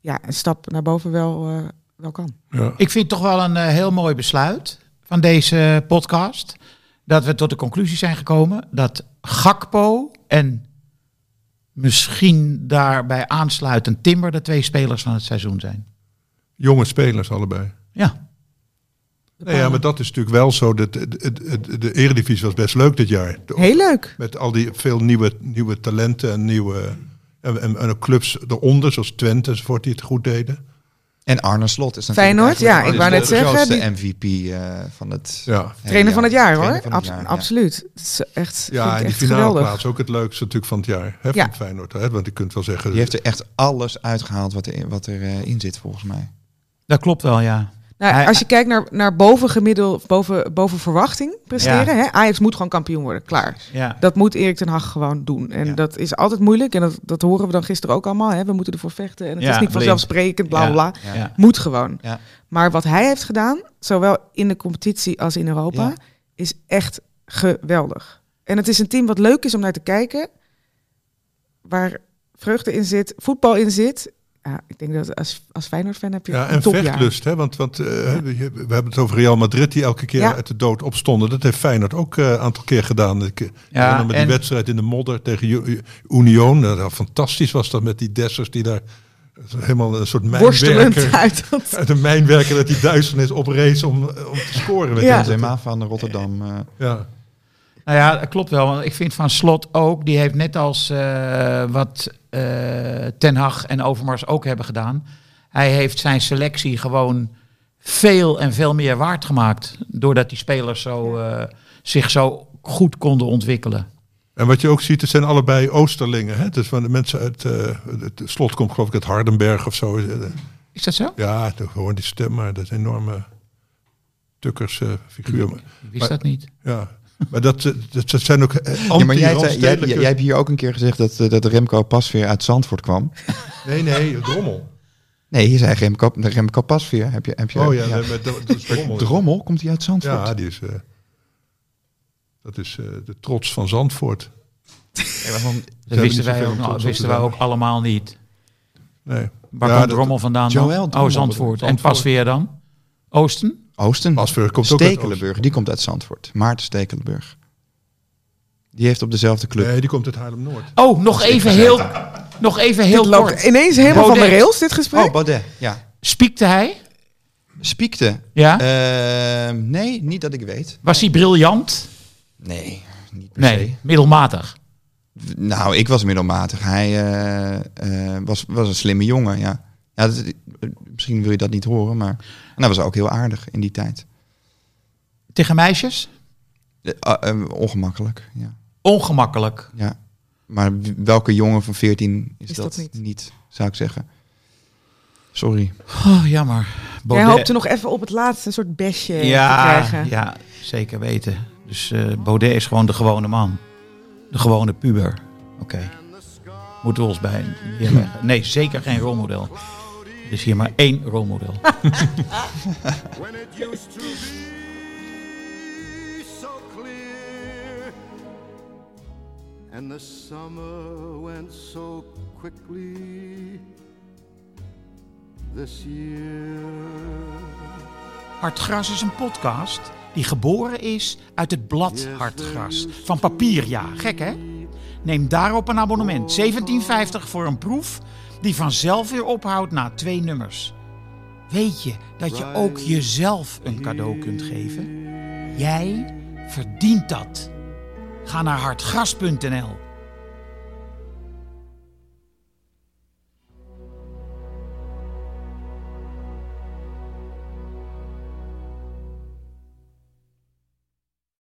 F: ja, een stap naar boven wel, eh, wel kan.
D: Ja.
C: Ik vind het toch wel een eh, heel mooi besluit van deze eh, podcast. Dat we tot de conclusie zijn gekomen dat Gakpo en misschien daarbij aansluitend Timber de twee spelers van het seizoen zijn.
D: Jonge spelers allebei.
C: Ja,
D: Nee, ja, maar dat is natuurlijk wel zo. Dat, de, de, de, de Eredivisie was best leuk dit jaar. De-
F: Heel leuk.
D: Met al die veel nieuwe, nieuwe talenten en nieuwe en, en, en ook clubs eronder, zoals Twente enzovoort, die het goed deden.
B: En Arne Slot is natuurlijk
F: Feyenoord,
B: eigenlijk
F: ja, ik
B: de-
F: wou net
B: de
F: zeggen,
B: grootste
F: die-
B: MVP eh, van het
D: Ja.
F: Trainer van het jaar hoor.
B: Trainer van het
F: Abs-
B: jaar, ja.
F: Absoluut. Dat is echt,
D: Ja, en
F: vind ik
D: die
F: echt
D: finale
F: geweldig.
D: plaats ook het leukste natuurlijk van het jaar. Hè,
F: Ja.
D: Van Feyenoord, hè? want je kunt wel zeggen...
B: Die heeft er echt alles uitgehaald wat er, wat er eh, in zit, volgens mij.
C: Dat klopt wel, ja. Hij-
F: Nou, als je kijkt naar, naar boven gemiddeld, boven, boven verwachting presteren. Hè? Ajax moet gewoon kampioen worden, klaar.
C: ja.
F: Dat moet Erik ten Hag gewoon doen. En
C: Ja.
F: dat is altijd moeilijk. En dat, dat horen we dan gisteren ook allemaal. Hè? We moeten ervoor vechten. En het
C: Ja,
F: is niet
C: blind.
F: vanzelfsprekend, bla bla bla.
C: Ja.
B: Ja.
F: Moet gewoon.
B: Ja.
F: Maar wat hij heeft gedaan, zowel in de competitie als in Europa,
B: Ja.
F: is echt geweldig. En het is een team wat leuk is om naar te kijken. Waar vreugde in zit, voetbal in zit. Ja, ik denk dat als, als Feyenoord-fan heb je
D: Ja,
F: een
D: en
F: topjaar.
D: vechtlust, hè? want, want eh, we we hebben het over Real Madrid die elke keer
F: Ja.
D: uit de dood opstonden. Dat heeft Feyenoord ook eh, een aantal keer gedaan. Ik eh,
C: Ja,
D: herinner me die
C: en-
D: wedstrijd in de modder tegen Ju- Ju- Union. Nou, dat- fantastisch was dat met die Dessers die daar eh, helemaal een soort
F: Worstelend
D: mijnwerker...
F: uit dat
D: Uit een mijnwerker dat die duisternis oprees om, eh, om te scoren. Met
F: Ja.
D: hem.
B: Benzema van Rotterdam. eh,
D: ja.
C: Nou ja, dat klopt wel. Want ik vind van Slot ook, die heeft net als eh, wat eh, Ten Hag en Overmars ook hebben gedaan. Hij heeft zijn selectie gewoon veel en veel meer waard gemaakt. Doordat die spelers zo, eh, zich zo goed konden ontwikkelen.
D: En wat je ook ziet, het zijn allebei Oosterlingen. Hè? Dus van de mensen uit eh, het slot komt geloof ik uit Hardenberg of zo. eh,
C: Is dat zo?
D: Ja, toch gewoon die stem, maar dat enorme tukkers eh, figuur. Maar-
C: Ik wist dat niet.
D: Ja, maar dat, eh, dat, dat zijn ook eh,
B: Ja, maar jij, hebt- jij,
D: anti-randstedelijke-
B: jij hebt hier ook een keer gezegd dat, eh, dat Remco Pasveer uit Zandvoort kwam.
D: Nee, nee, drommel.
B: Nee, hier zei Remco, Remco Pasveer. Heb je, heb je,
D: Oh ja, nee, maar dat, dat is drommel.
B: Drommel, komt hij uit Zandvoort?
D: Ja, die is... eh, dat is eh, de trots van Zandvoort.
C: Dat
D: hebben niet
C: wisten wij,
D: zoveel
C: ook,
D: om
C: nog-
D: trots op
C: wisten
D: te
C: wij
D: zijn.
C: ook allemaal niet.
D: Nee.
C: Waar
D: Ja,
C: komt
D: dat-
C: Drommel vandaan dan?
B: Joël Drommel.
C: oh, Zandvoort. En
D: Zandvoort.
C: pas weer dan? Oosten?
B: Oosten.
D: Pasveer komt ook uit Oosten.
B: Stekelenburg, die komt uit Zandvoort. Maarten Stekelenburg. Die heeft op dezelfde club.
D: Nee, die komt uit Haarlem-Noord.
C: Oh, nog even heel, nog even heel
F: Dit loopt
C: kort.
F: ineens helemaal van de
C: Baudet.
F: rails, dit gesprek.
B: Oh, Baudet, ja.
C: Spiekte hij?
B: Spiekte.
C: Ja?
B: Ehm, nee, niet dat ik weet.
C: Was hij briljant?
B: Nee, niet per
C: Nee, middelmatig.
B: se. Nou, ik was middelmatig. Hij eh, eh, was, was een slimme jongen, ja. ja dat- eh, misschien wil je dat niet horen, maar... En hij was ook heel aardig in die tijd.
C: Tegen meisjes?
B: Eh, ah, eh, ongemakkelijk, ja.
C: Ongemakkelijk.
B: ja. Maar w- welke jongen van 14 is,
F: Is
B: dat,
F: dat niet?
B: zou ik zeggen. Sorry.
C: Oh, jammer.
F: Jij
C: Baudet.
F: hoopte nog even op het laatste een soort besje te
C: ja,
F: krijgen.
C: ja, zeker weten. Dus eh, Baudet is gewoon de gewone man. De gewone puber. Oké. Moeten we ons bij neerleggen. Nee, zeker geen rolmodel. Er is hier maar één rolmodel.
E: when it used to be so clear. And the summer went so quickly this year.
C: Hartgras is een podcast die geboren is uit het blad Hartgras van papierja. Gek hè? Neem daarop een abonnement. 17,50 voor een proef die vanzelf weer ophoudt na twee nummers. Weet je dat je ook jezelf een cadeau kunt geven? Jij verdient dat. Ga naar hartgras.nl